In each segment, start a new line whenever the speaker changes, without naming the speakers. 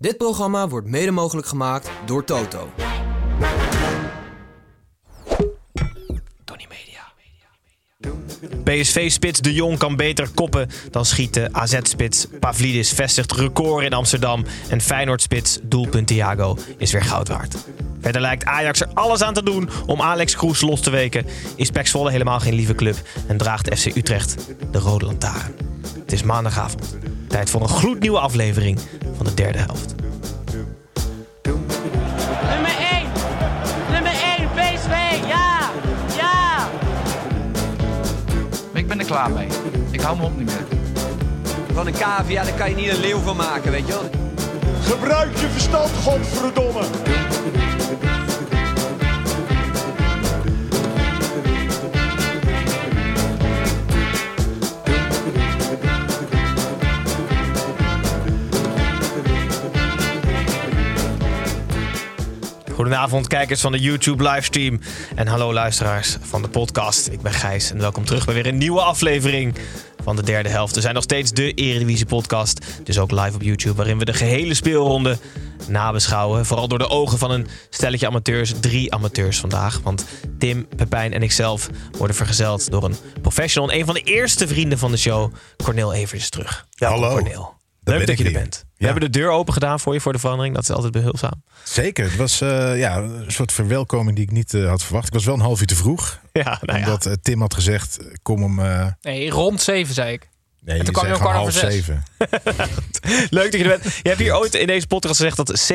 Dit programma wordt mede mogelijk gemaakt door Toto. Tony Media.
PSV-spits De Jong kan beter koppen dan schieten. AZ-spits Pavlidis vestigt record in Amsterdam. En Feyenoord-spits doelpunt Thiago is weer goud waard. Verder lijkt Ajax er alles aan te doen om Alex Kroes los te weken. Is PEC Zwolle helemaal geen lieve club en draagt FC Utrecht de rode lantaarn. Het is maandagavond. Tijd voor een gloednieuwe aflevering van de derde helft.
Nummer 1. Nummer 1, PSV. Ja. Ja.
Ik ben er klaar mee. Ik hou me op niet meer.
Van een cavia, daar kan je niet een leeuw van maken, weet je wel.
Gebruik je verstand, godverdomme.
Goedenavond, kijkers van de YouTube livestream. En hallo, luisteraars van de podcast. Ik ben Gijs en welkom terug bij weer een nieuwe aflevering van de derde helft. We zijn nog steeds de Eredivisie-podcast. Dus ook live op YouTube, waarin we de gehele speelronde nabeschouwen. Vooral door de ogen van een stelletje amateurs. Drie amateurs vandaag. Want Tim, Pepijn en ikzelf worden vergezeld door een professional. En een van de eerste vrienden van de show, Cornel Evers, is terug. Ja,
hallo.
Cornel.
Daar
Leuk
ben
dat
ik
je er
weer.
bent. We
Ja.
hebben de deur open gedaan voor je voor de verandering. Dat is altijd behulpzaam.
Zeker. Het was eh, ja, een soort verwelkoming die ik niet eh, had verwacht. Ik was wel een half uur te vroeg.
Ja, nou ja.
Omdat eh, Tim had gezegd, eh, kom om... eh,
Nee, rond zeven zei ik.
nee,
kwam je om
gewoon
kwart
half
over zes.
zeven.
Leuk dat je er bent. Je hebt hier ooit in deze podcast gezegd dat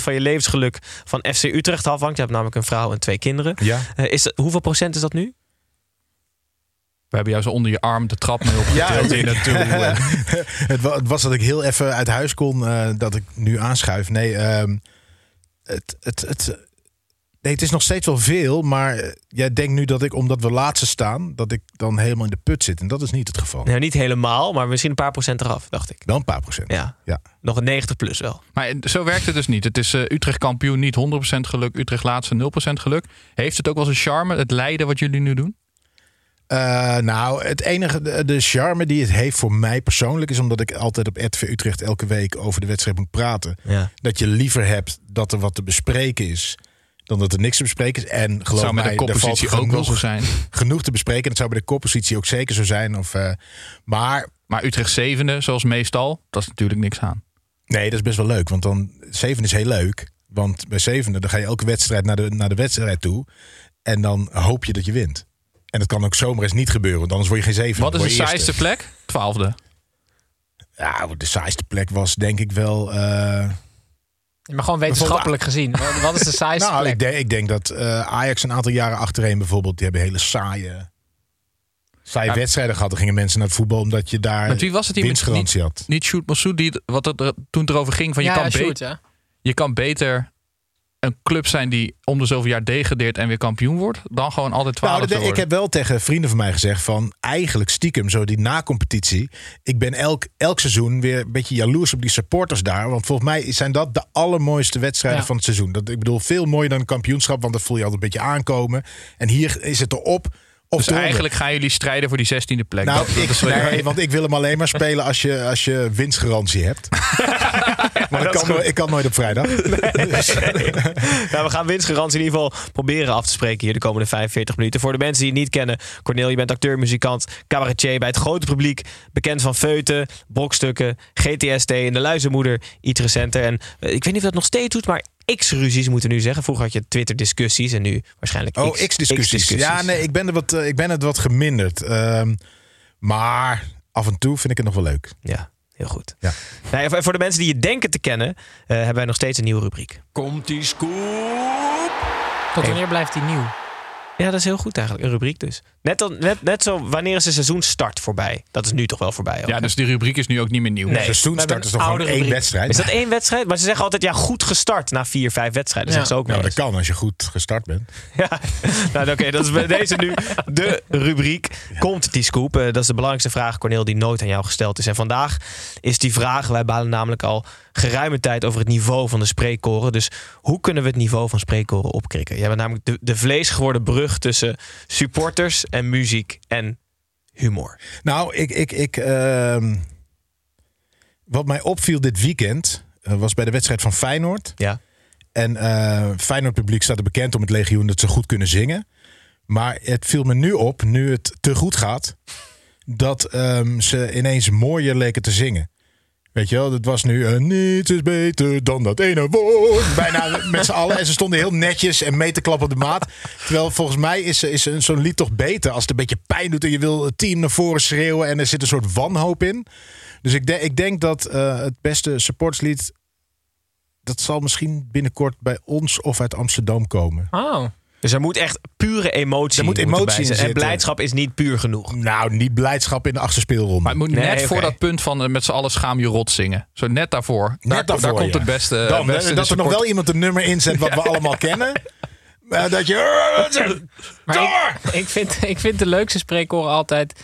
97% van je levensgeluk van FC Utrecht afhangt. Je hebt namelijk een vrouw en twee kinderen.
Ja.
Eh, is, dat- hoeveel procent is dat nu?
We hebben jou zo onder je arm de trap mee
Ja,
opgetild. in het eh. toe.
het, wa- het was dat ik heel even uit huis kon, eh, dat ik nu aanschuif. Nee, ehm, het, het, het, eh, nee, het is nog steeds wel veel. Maar eh, jij denkt nu dat ik, omdat we laatste staan, dat ik dan helemaal in de put zit. En dat is niet het geval.
Nou, niet helemaal, maar misschien een paar procent eraf, dacht ik.
Wel een paar procent.
Ja.
ja.
Nog een 90 plus wel.
Maar zo werkt het dus niet. Het is eh, Utrecht kampioen, niet 100% geluk. Utrecht laatste 0% geluk. Heeft het ook wel zijn charme, het lijden wat jullie nu doen?
Eh, nou, het enige, de, de charme die het heeft voor mij persoonlijk is omdat ik altijd op RTV Utrecht elke week over de wedstrijd moet praten.
Ja.
Dat je liever hebt dat er wat te bespreken is dan dat er niks te bespreken is. En geloof
Zou
mij,
met de
er
koppositie
valt
ook wel zo
genoeg-
zijn.
Genoeg te bespreken. Dat zou bij de koppositie ook zeker zo zijn. Of, eh, maar
Maar Utrecht zevende, zoals meestal, dat is natuurlijk niks aan.
nee, dat is best wel leuk. Want dan zeven is heel leuk. Want bij zevende dan ga je elke wedstrijd naar de, naar de wedstrijd toe. En dan hoop je dat je wint. En dat kan ook zomaar eens niet gebeuren. Want anders word je geen zevende.
Wat is
dan
de
word je eerste.
saaiste plek? Twaalfde.
Ja, de saaiste plek was denk ik wel. eh,
Maar gewoon wetenschappelijk gezien. Wat wat is de saaiste
nou,
plek?
ik, denk- ik denk dat eh, Ajax een aantal jaren achtereen bijvoorbeeld. Die hebben hele saaie, saaie
Maar-
wedstrijden gehad. Dan gingen mensen naar het voetbal omdat je daar
Met wie was het die met-
winstgarantie had.
Niet Sjoerd Massoud, die het- wat het er toen het erover ging van je,
ja,
kan
ja,
be-
shoot, hè?
je kan beter een club zijn die om de zoveel jaar degradeert en weer kampioen wordt, dan gewoon altijd
Nou,
twaalfde
dat- ik
worden.
heb wel tegen vrienden van mij gezegd van eigenlijk stiekem zo die na-competitie. Ik ben elk, elk seizoen weer een beetje jaloers op die supporters daar. Want volgens mij zijn dat de allermooiste wedstrijden
Ja.
van het seizoen. Dat, ik bedoel, veel mooier dan een kampioenschap, want dat voel je altijd een beetje aankomen. En hier is het erop of
Dus
eronder.
eigenlijk gaan jullie strijden voor die zestiende plek.
Nou,
Dat- dat
ik,
is wat je-
nee, want ik wil hem alleen maar spelen als je, als je winstgarantie hebt. maar ik
dat is
kan, nooit-
goed.
ik kan nooit op vrijdag. Dus-
Nou, we gaan winstgarantie in ieder geval proberen af te spreken hier de komende 45 minuten. Voor de mensen die het niet kennen, Cornel, je bent acteur, muzikant, cabaretier bij het grote publiek. Bekend van feuten, brokstukken, GTST en de luizenmoeder, iets recenter. En eh, ik weet niet of dat nog steeds doet, maar X-ruzies moeten we nu zeggen. Vroeger had je Twitter-discussies en nu waarschijnlijk
Oh,
X-
X-discussies.
X-discussies.
Ja, nee, ik ben, er wat, eh, ik ben het wat geminderd. Ehm, maar af en toe vind ik het nog wel leuk.
Ja, heel goed.
Ja.
Nou, en voor- en voor de mensen die je denken te kennen, eh, hebben wij nog steeds een nieuwe rubriek.
Komt die scoop?
Tot wanneer blijft die nieuw?
Ja, dat is heel goed eigenlijk. Een rubriek dus. Net, dan, net, net zo, wanneer is de seizoenstart voorbij? Dat is nu toch wel voorbij. ook,
Ja,
hè?
dus die rubriek is nu ook niet meer nieuw.
Nee.
Dus
Seizoenstart is toch gewoon
Oude
één
rubriek.
wedstrijd?
Is dat één wedstrijd? Maar ze zeggen altijd, ja, goed gestart na vier, vijf wedstrijden.
Ja.
Zeggen ze ook
Nou,
wel
dat
eens.
kan als je goed gestart bent.
Ja. Nou, oké, dat is bij deze nu de rubriek. Komt die scoop? Eh, dat is de belangrijkste vraag, Cornel, die nooit aan jou gesteld is. En vandaag is die vraag, wij balen namelijk al geruime tijd over het niveau van de spreekkoren. Dus hoe kunnen we het niveau van spreekkoren opkrikken? Jij bent namelijk de, de vleesgeworden brug tussen supporters en muziek en humor.
Nou, ik. ik, ik ehm, wat mij opviel dit weekend eh, was bij de wedstrijd van Feyenoord.
Ja.
En eh Feyenoord publiek staat er bekend om het legioen dat ze goed kunnen zingen. Maar het viel me nu op, nu het te goed gaat, dat ehm, ze ineens mooier leken te zingen. Weet je wel, dat was nu eh, niets is beter dan dat ene woord. Bijna met z'n allen. En ze stonden heel netjes en mee te klappen op de maat. Terwijl volgens mij is, is een- zo'n lied toch beter als het een beetje pijn doet en je wil het team naar voren schreeuwen en er zit een soort wanhoop in. Dus ik, de- ik denk dat eh, het beste supportslied, dat zal misschien binnenkort bij ons of uit Amsterdam komen.
Oh.
Dus er moet echt pure emotie,
Er moet
moeten
emotie
bij
in
zijn. En
zitten.
blijdschap is niet puur genoeg.
Nou, niet blijdschap in de achtste speelronde.
Maar het moet
Nee,
net
oké.
voor dat punt van eh, met z'n allen schaam je rot zingen. Zo net daarvoor. Net daar,
daarvoor,
daar komt
ja.
het beste. eh,
Dan,
beste
hè, dat er nog wel iemand een nummer inzet wat we allemaal kennen. Eh, dat je...
Maar ik, ik, vind, ik vind de leukste spreekkoren altijd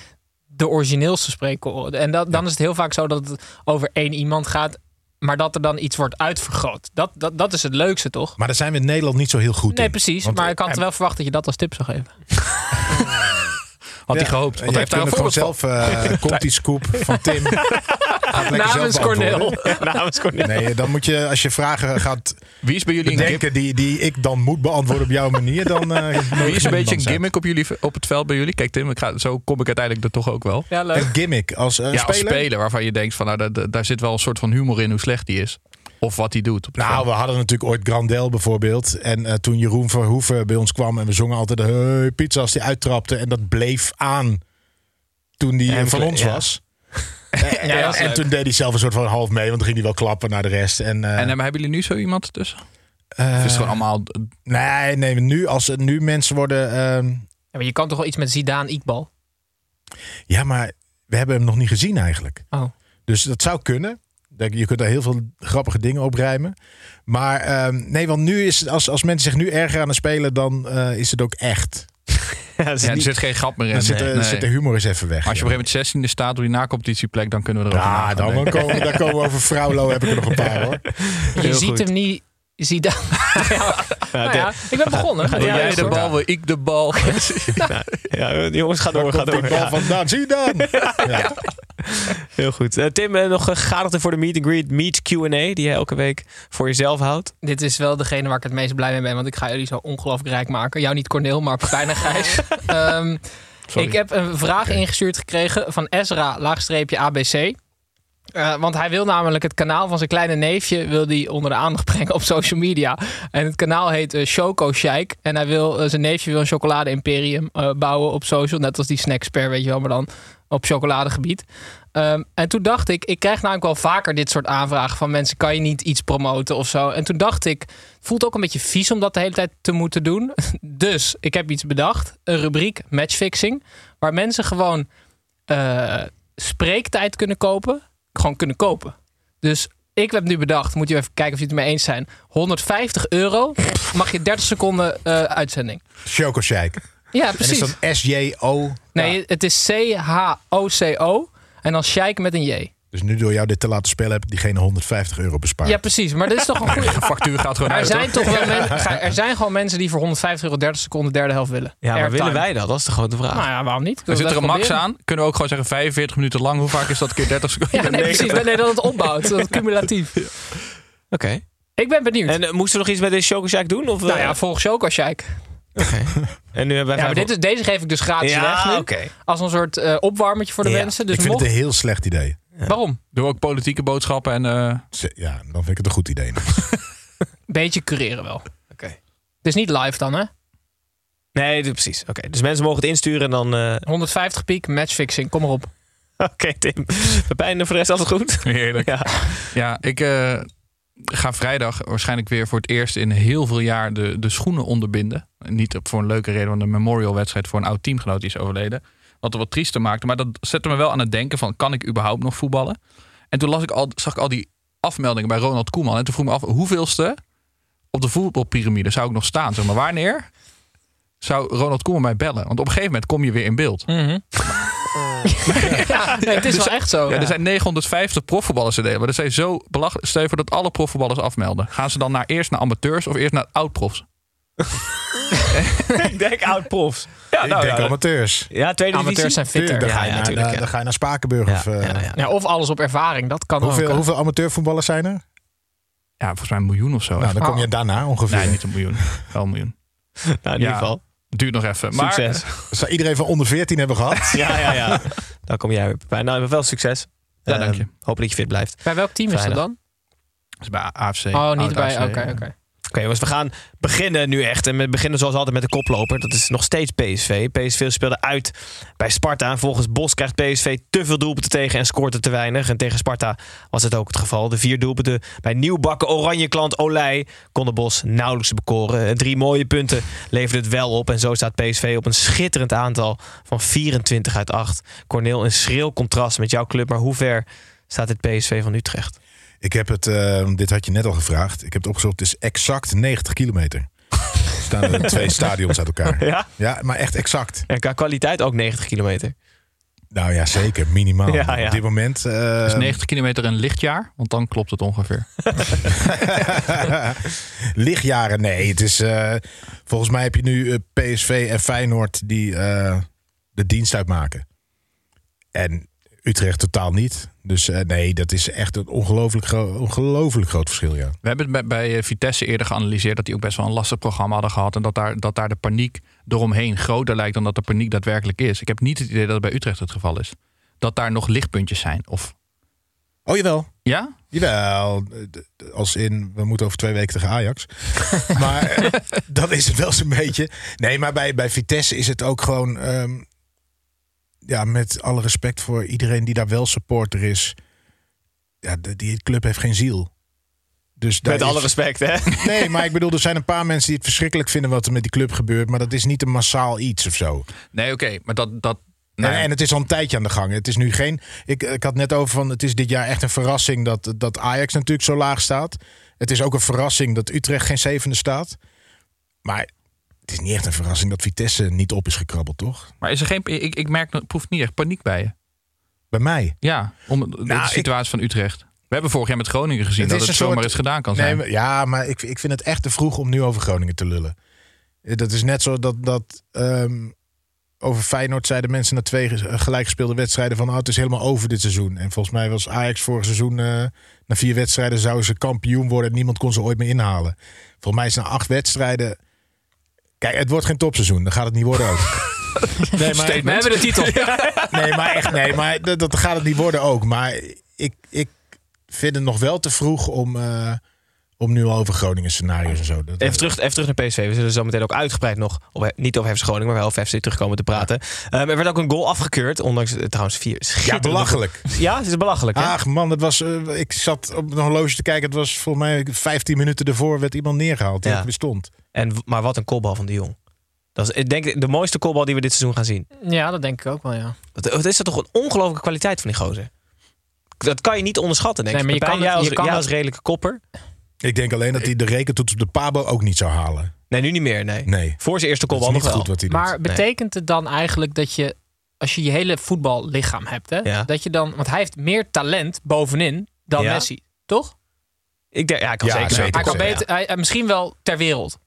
de origineelste spreekkoren. En dat, dan is het heel vaak zo dat het over één iemand gaat, maar dat er dan iets wordt uitvergroot. Dat, dat, dat is het leukste, toch?
Maar daar zijn we in Nederland niet zo heel goed in.
Nee, precies.
Want-
maar ik had wel verwacht dat je dat als tip zou geven.
Had hij
Ja,
gehoopt.
Eh,
Want
jij
hij heeft daar een
kunt het
voorbeeld
gewoon
van.
zelf, eh, komt die scoop van Tim. Gaat lekker zelf
Namens
beantwoorden.
Cornel.
Namens Cornel.
Nee, eh, dan moet je, als je vragen gaat
Wie is bij jullie een gimmick?
bedenken die, die ik dan moet beantwoorden op jouw manier, dan... eh, nodig
Wie is een
iemand
beetje een
uit.
gimmick op, jullie, op het veld bij jullie? Kijk Tim, ik ga, zo kom ik uiteindelijk er toch ook wel.
Ja, leuk.
Een gimmick als eh,
ja, als
speler?
speler waarvan je denkt van nou, daar- daar, daar zit wel een soort van humor in hoe slecht die is. Of wat hij doet. op het
Nou,
veld.
we hadden natuurlijk ooit Grandel bijvoorbeeld. En eh, toen Jeroen Verhoeven bij ons kwam en we zongen altijd hey, pizza als die uittrapte. En dat bleef aan toen die eh,
En
van
kle-
ons
ja.
was. Eh, eh,
dat is
en
leuk.
toen deed hij zelf een soort van half mee, want dan ging hij wel klappen naar de rest. En, eh,
en eh, maar hebben jullie nu zo iemand tussen?
eh,
Of is het gewoon allemaal...
nee, nee, nu als er nu mensen worden. ehm,
Ja, maar je kan toch wel iets met Zidane Iqbal?
ja, maar we hebben hem nog niet gezien eigenlijk.
Oh.
Dus dat zou kunnen. Dat- Je kunt daar heel veel grappige dingen op rijmen. Maar ehm, nee, want nu is het, als, als mensen zich nu erger aan het spelen, dan eh, is het ook echt.
Ja, dat is
Ja, er
niet-
zit geen grap meer in.
Dan zit, de-
Nee,
dan
nee.
zit de humor eens even weg.
Als je op een gegeven moment 16e staat op die nacompetitieplek, dan kunnen we er ook
ja, dan wel komen, daar komen we over Fraulo heb ik er nog een paar hoor.
Je
Heel
ziet
goed.
hem niet. Zidane. ja, nou ja, ik ben begonnen.
Wil
Ja,
jij
is
de
goed.
bal, wil ik de bal.
Ja, jongens, ga door, ga
Komt die
door.
bal
Ja,
vandaan? Zie je dan? Ja.
heel goed. Eh, Tim, eh, nog eh, gegadigden voor de meet and greet, meet Q&A, die jij elke week voor jezelf houdt.
Dit is wel degene waar ik het meest blij mee ben, want ik ga jullie zo ongelooflijk rijk maken. Jou niet Corneel, maar bijna Gijs. Ehm, ik heb een vraag ingestuurd gekregen van Ezra, laagstreepje ABC. Eh, want hij wil namelijk het kanaal van zijn kleine neefje wil die onder de aandacht brengen op social media. En het kanaal heet eh, Choco Shike. En hij wil, eh, zijn neefje wil een chocolade-imperium eh, bouwen op social. Net als die Snacksper, weet je wel, maar dan op chocoladegebied. Ehm, en toen dacht ik, ik krijg namelijk wel vaker dit soort aanvragen van mensen: kan je niet iets promoten of zo? En toen dacht ik, het voelt ook een beetje vies om dat de hele tijd te moeten doen. Dus ik heb iets bedacht: een rubriek matchfixing, waar mensen gewoon eh, spreektijd kunnen kopen. Gewoon kunnen kopen. Dus ik heb nu bedacht, moet je even kijken of je het ermee eens zijn: 150 euro mag je 30 seconden eh, uitzending.
Choco Shake.
Ja,
En is
precies.
dan S-J-O.
Nee, het is C-H-O-C-O en dan Sheik met een J.
Dus nu door jou dit te laten spelen heb ik diegene 150 euro bespaard.
Ja, precies. Maar dit is toch een goede.
De factuur gaat gewoon
Er
uit.
zijn
hoor.
toch wel men- ga- er zijn gewoon mensen die voor 150 euro 30 seconden de derde helft willen.
Ja, maar
Airtime.
willen wij dat? Dat is de grote vraag.
Nou ja, waarom niet?
Er zit er een max
aan.
aan. Kunnen we ook gewoon zeggen 45 minuten lang. Hoe vaak is dat keer 30 seconden?
Ja, nee, precies. Nee, dat het opbouwt. Dat het cumulatief.
Oké.
Ik ben benieuwd.
En eh, moesten we nog iets met deze Chocoshack doen? Of,
nou
eh,
ja, volgens jou ook als jij.
en nu hebben wij
Ja, maar
vijf-
dit is, deze geef ik dus gratis
Ja,
weg nu.
oké.
Als een soort eh opwarmetje voor de
Ja,
mensen. Dus
ik vind
mocht...
het een heel slecht idee.
Waarom?
Doe ook politieke boodschappen. En, eh,
Ze- Ja, dan vind ik het een goed idee.
Beetje cureren wel. Het
Oké.
is niet live dan, hè?
Nee, dit- precies. Oké, Dus mensen mogen het insturen en dan... eh,
150 piek, matchfixing. Kom maar op.
Oké, Tim. Pepijn, voor de rest alles goed?
heerlijk.
Ja.
Ja, ik, eh, ga vrijdag waarschijnlijk weer voor het eerst in heel veel jaar de, de schoenen onderbinden. Niet op, voor een leuke reden, want een memorial wedstrijd voor een oud teamgenoot die is overleden. Wat er wat triester maakte. Maar dat zette me wel aan het denken van, kan ik überhaupt nog voetballen? En toen las ik al, zag ik al die afmeldingen bij Ronald Koeman. En toen vroeg ik me af, hoeveelste op de voetbalpyramide zou ik nog staan? Zeg maar, wanneer zou Ronald Koeman mij bellen? Want op een gegeven moment kom je weer in beeld.
Mhm. ja, nee, het is
Dus-
wel echt zo.
Ja,
Ja.
Er zijn 950 profvoetballers in Nederland. Maar dat is zo belachelijk. Stel je voor dat alle profvoetballers afmelden. Gaan ze dan naar, eerst naar amateurs of eerst naar oud-profs?
ik denk oud-profs. Ja, nou
ik denk
ja,
amateurs.
ja, tweede
Amateurs zijn fitter.
Dan
Ja,
ga je,
ja,
naar,
tuurlijk, ja. Nou,
dan ga je naar Spakenburg. of, eh,
Ja, of alles op ervaring, dat kan
hoeveel,
ook. hè.
hoeveel amateurvoetballers zijn er?
Ja, volgens mij een miljoen of zo.
Nou, dan
Even-
kom je daarna ongeveer.
Nee, niet een miljoen. Wel een miljoen.
Nou, in ieder
Ja.
geval.
Duurt nog even. Maar,
Succes.
Zou iedereen van onder 14 hebben gehad?
Ja, ja, ja. Dan kom jij weer bij. Nou, wel succes.
Ja,
Eh,
dank je.
Hopelijk dat je fit blijft.
Bij welk team is dat
Vrijdag.
dan?
Dat is bij AFC.
Oh, niet
Oud
bij.
AFC.
Oké, oké.
Oké jongens, we gaan beginnen nu echt. En we beginnen zoals altijd met de koploper. Dat is nog steeds PSV. PSV speelde uit bij Sparta. En volgens Bos krijgt PSV te veel doelpunten tegen en scoort er te weinig. En tegen Sparta was het ook het geval. De vier doelpunten bij nieuwbakken oranje klant Olij kon de Bos nauwelijks bekoren. Eh, Drie mooie punten leverde het wel op. En zo staat PSV op een schitterend aantal van 24 uit 8. Corneel, een schril contrast met jouw club. Maar hoe ver staat het PSV van Utrecht?
Ik heb het, eh, dit had je net al gevraagd. Ik heb het opgezocht. Het is exact 90 kilometer. Er staan er twee stadions uit elkaar.
Ja?
Ja, maar echt exact.
En qua kwaliteit ook 90 kilometer.
Nou ja, zeker. Minimaal.
Ja, ja.
Op dit moment... eh,
Dat is 90 kilometer een lichtjaar, want dan klopt het ongeveer.
lichtjaren, nee. Het is, eh, volgens mij heb je nu eh, PSV en Feyenoord die eh, de dienst uitmaken. En Utrecht totaal niet. Dus eh, nee, dat is echt een ongelooflijk, gro- ongelooflijk groot verschil, ja.
We hebben het bij, bij eh, Vitesse eerder geanalyseerd dat die ook best wel een lastig programma hadden gehad. En dat daar, dat daar de paniek eromheen groter lijkt dan dat de paniek daadwerkelijk is. Ik heb niet het idee dat het bij Utrecht het geval is. Dat daar nog lichtpuntjes zijn. Of
Oh, jawel.
ja?
Jawel, d- d- als in we moeten over twee weken tegen Ajax. maar eh, dat is het wel zo'n beetje. Nee, maar bij, bij Vitesse is het ook gewoon. ehm, ja, met alle respect voor iedereen die daar wel supporter is. Ja, de- die club heeft geen ziel. Dus daar
Met alle
is-
respect, hè?
Nee, maar ik bedoel, er zijn een paar mensen die het verschrikkelijk vinden wat er met die club gebeurt. Maar dat is niet een massaal iets of zo.
Nee, oké. maar dat. dat
En-
nou ja.
En het is al een tijdje aan de gang. Het is nu geen. Ik, ik had net over van. Het is dit jaar echt een verrassing dat, dat Ajax natuurlijk zo laag staat. Het is ook een verrassing dat Utrecht geen zevende staat. Maar het is niet echt een verrassing dat Vitesse niet op is gekrabbeld, toch?
Maar is er geen. Ik, ik merk, dat- proef niet echt paniek bij je.
Bij mij.
Ja, om de
ik-
situatie van Utrecht. We hebben vorig jaar met Groningen gezien
Het
dat
is
het
een
zomaar
soort-
eens gedaan kan
Nee,
zijn.
maar- ja, maar ik, ik vind het echt te vroeg om nu over Groningen te lullen. Eh, Dat is net zo dat, dat ehm, over Feyenoord zeiden mensen na twee ge- gelijkgespeelde wedstrijden van oh, het is helemaal over dit seizoen. En volgens mij was Ajax vorig seizoen eh, na vier wedstrijden zouden ze kampioen worden en niemand kon ze ooit meer inhalen. Volgens mij is na acht wedstrijden. Kijk, het wordt geen topseizoen. Dan gaat het niet worden ook. nee, maar,
We hebben de titel.
nee, maar echt, nee, maar dat, dat gaat het niet worden ook. Maar ik, ik vind het nog wel te vroeg om, eh, om nu al over Groningen scenario's en zo. Dat,
Even terug, even terug naar PSV. We zullen zo meteen ook uitgebreid nog, op, niet over FC Groningen, maar wel over FC terugkomen te praten. Ehm, er werd ook een goal afgekeurd, ondanks eh, trouwens vier
Ja,
schitterende
belachelijk. Ah.
goals. Ja, het is belachelijk. Hè?
Ach man, dat was, eh, ik zat op een horloge te kijken. Het was volgens mij 15 minuten ervoor werd iemand neergehaald die
Ja.
er bestond.
En, w- maar wat een kopbal van de Jong. Dat is ik denk de mooiste kopbal die we dit seizoen gaan zien.
Ja, dat denk ik ook wel, ja.
Wat, wat is dat toch een ongelofelijke kwaliteit van die gozer? Dat kan je niet onderschatten, denk ik.
Nee, maar je
Pepijn,
kan het-
jij als,
je kan
jij
het-
als redelijke kopper.
Ik denk alleen dat hij de rekentoets op de Pabo ook niet zou halen.
Nee, nu niet meer, nee.
Nee,
Voor zijn eerste
dat is
kopbal nog
niet
wel.
goed wat hij doet.
Maar betekent het dan eigenlijk dat je, als je je hele voetballichaam hebt, hè,
Ja.
dat je dan, want hij heeft meer talent bovenin dan
Ja.
Messi, toch?
Ik denk, ja, ik kan
Ja,
zeker.
zeker.
Hij kan
Klopt, ja.
beter, hij, hij- misschien wel ter wereld.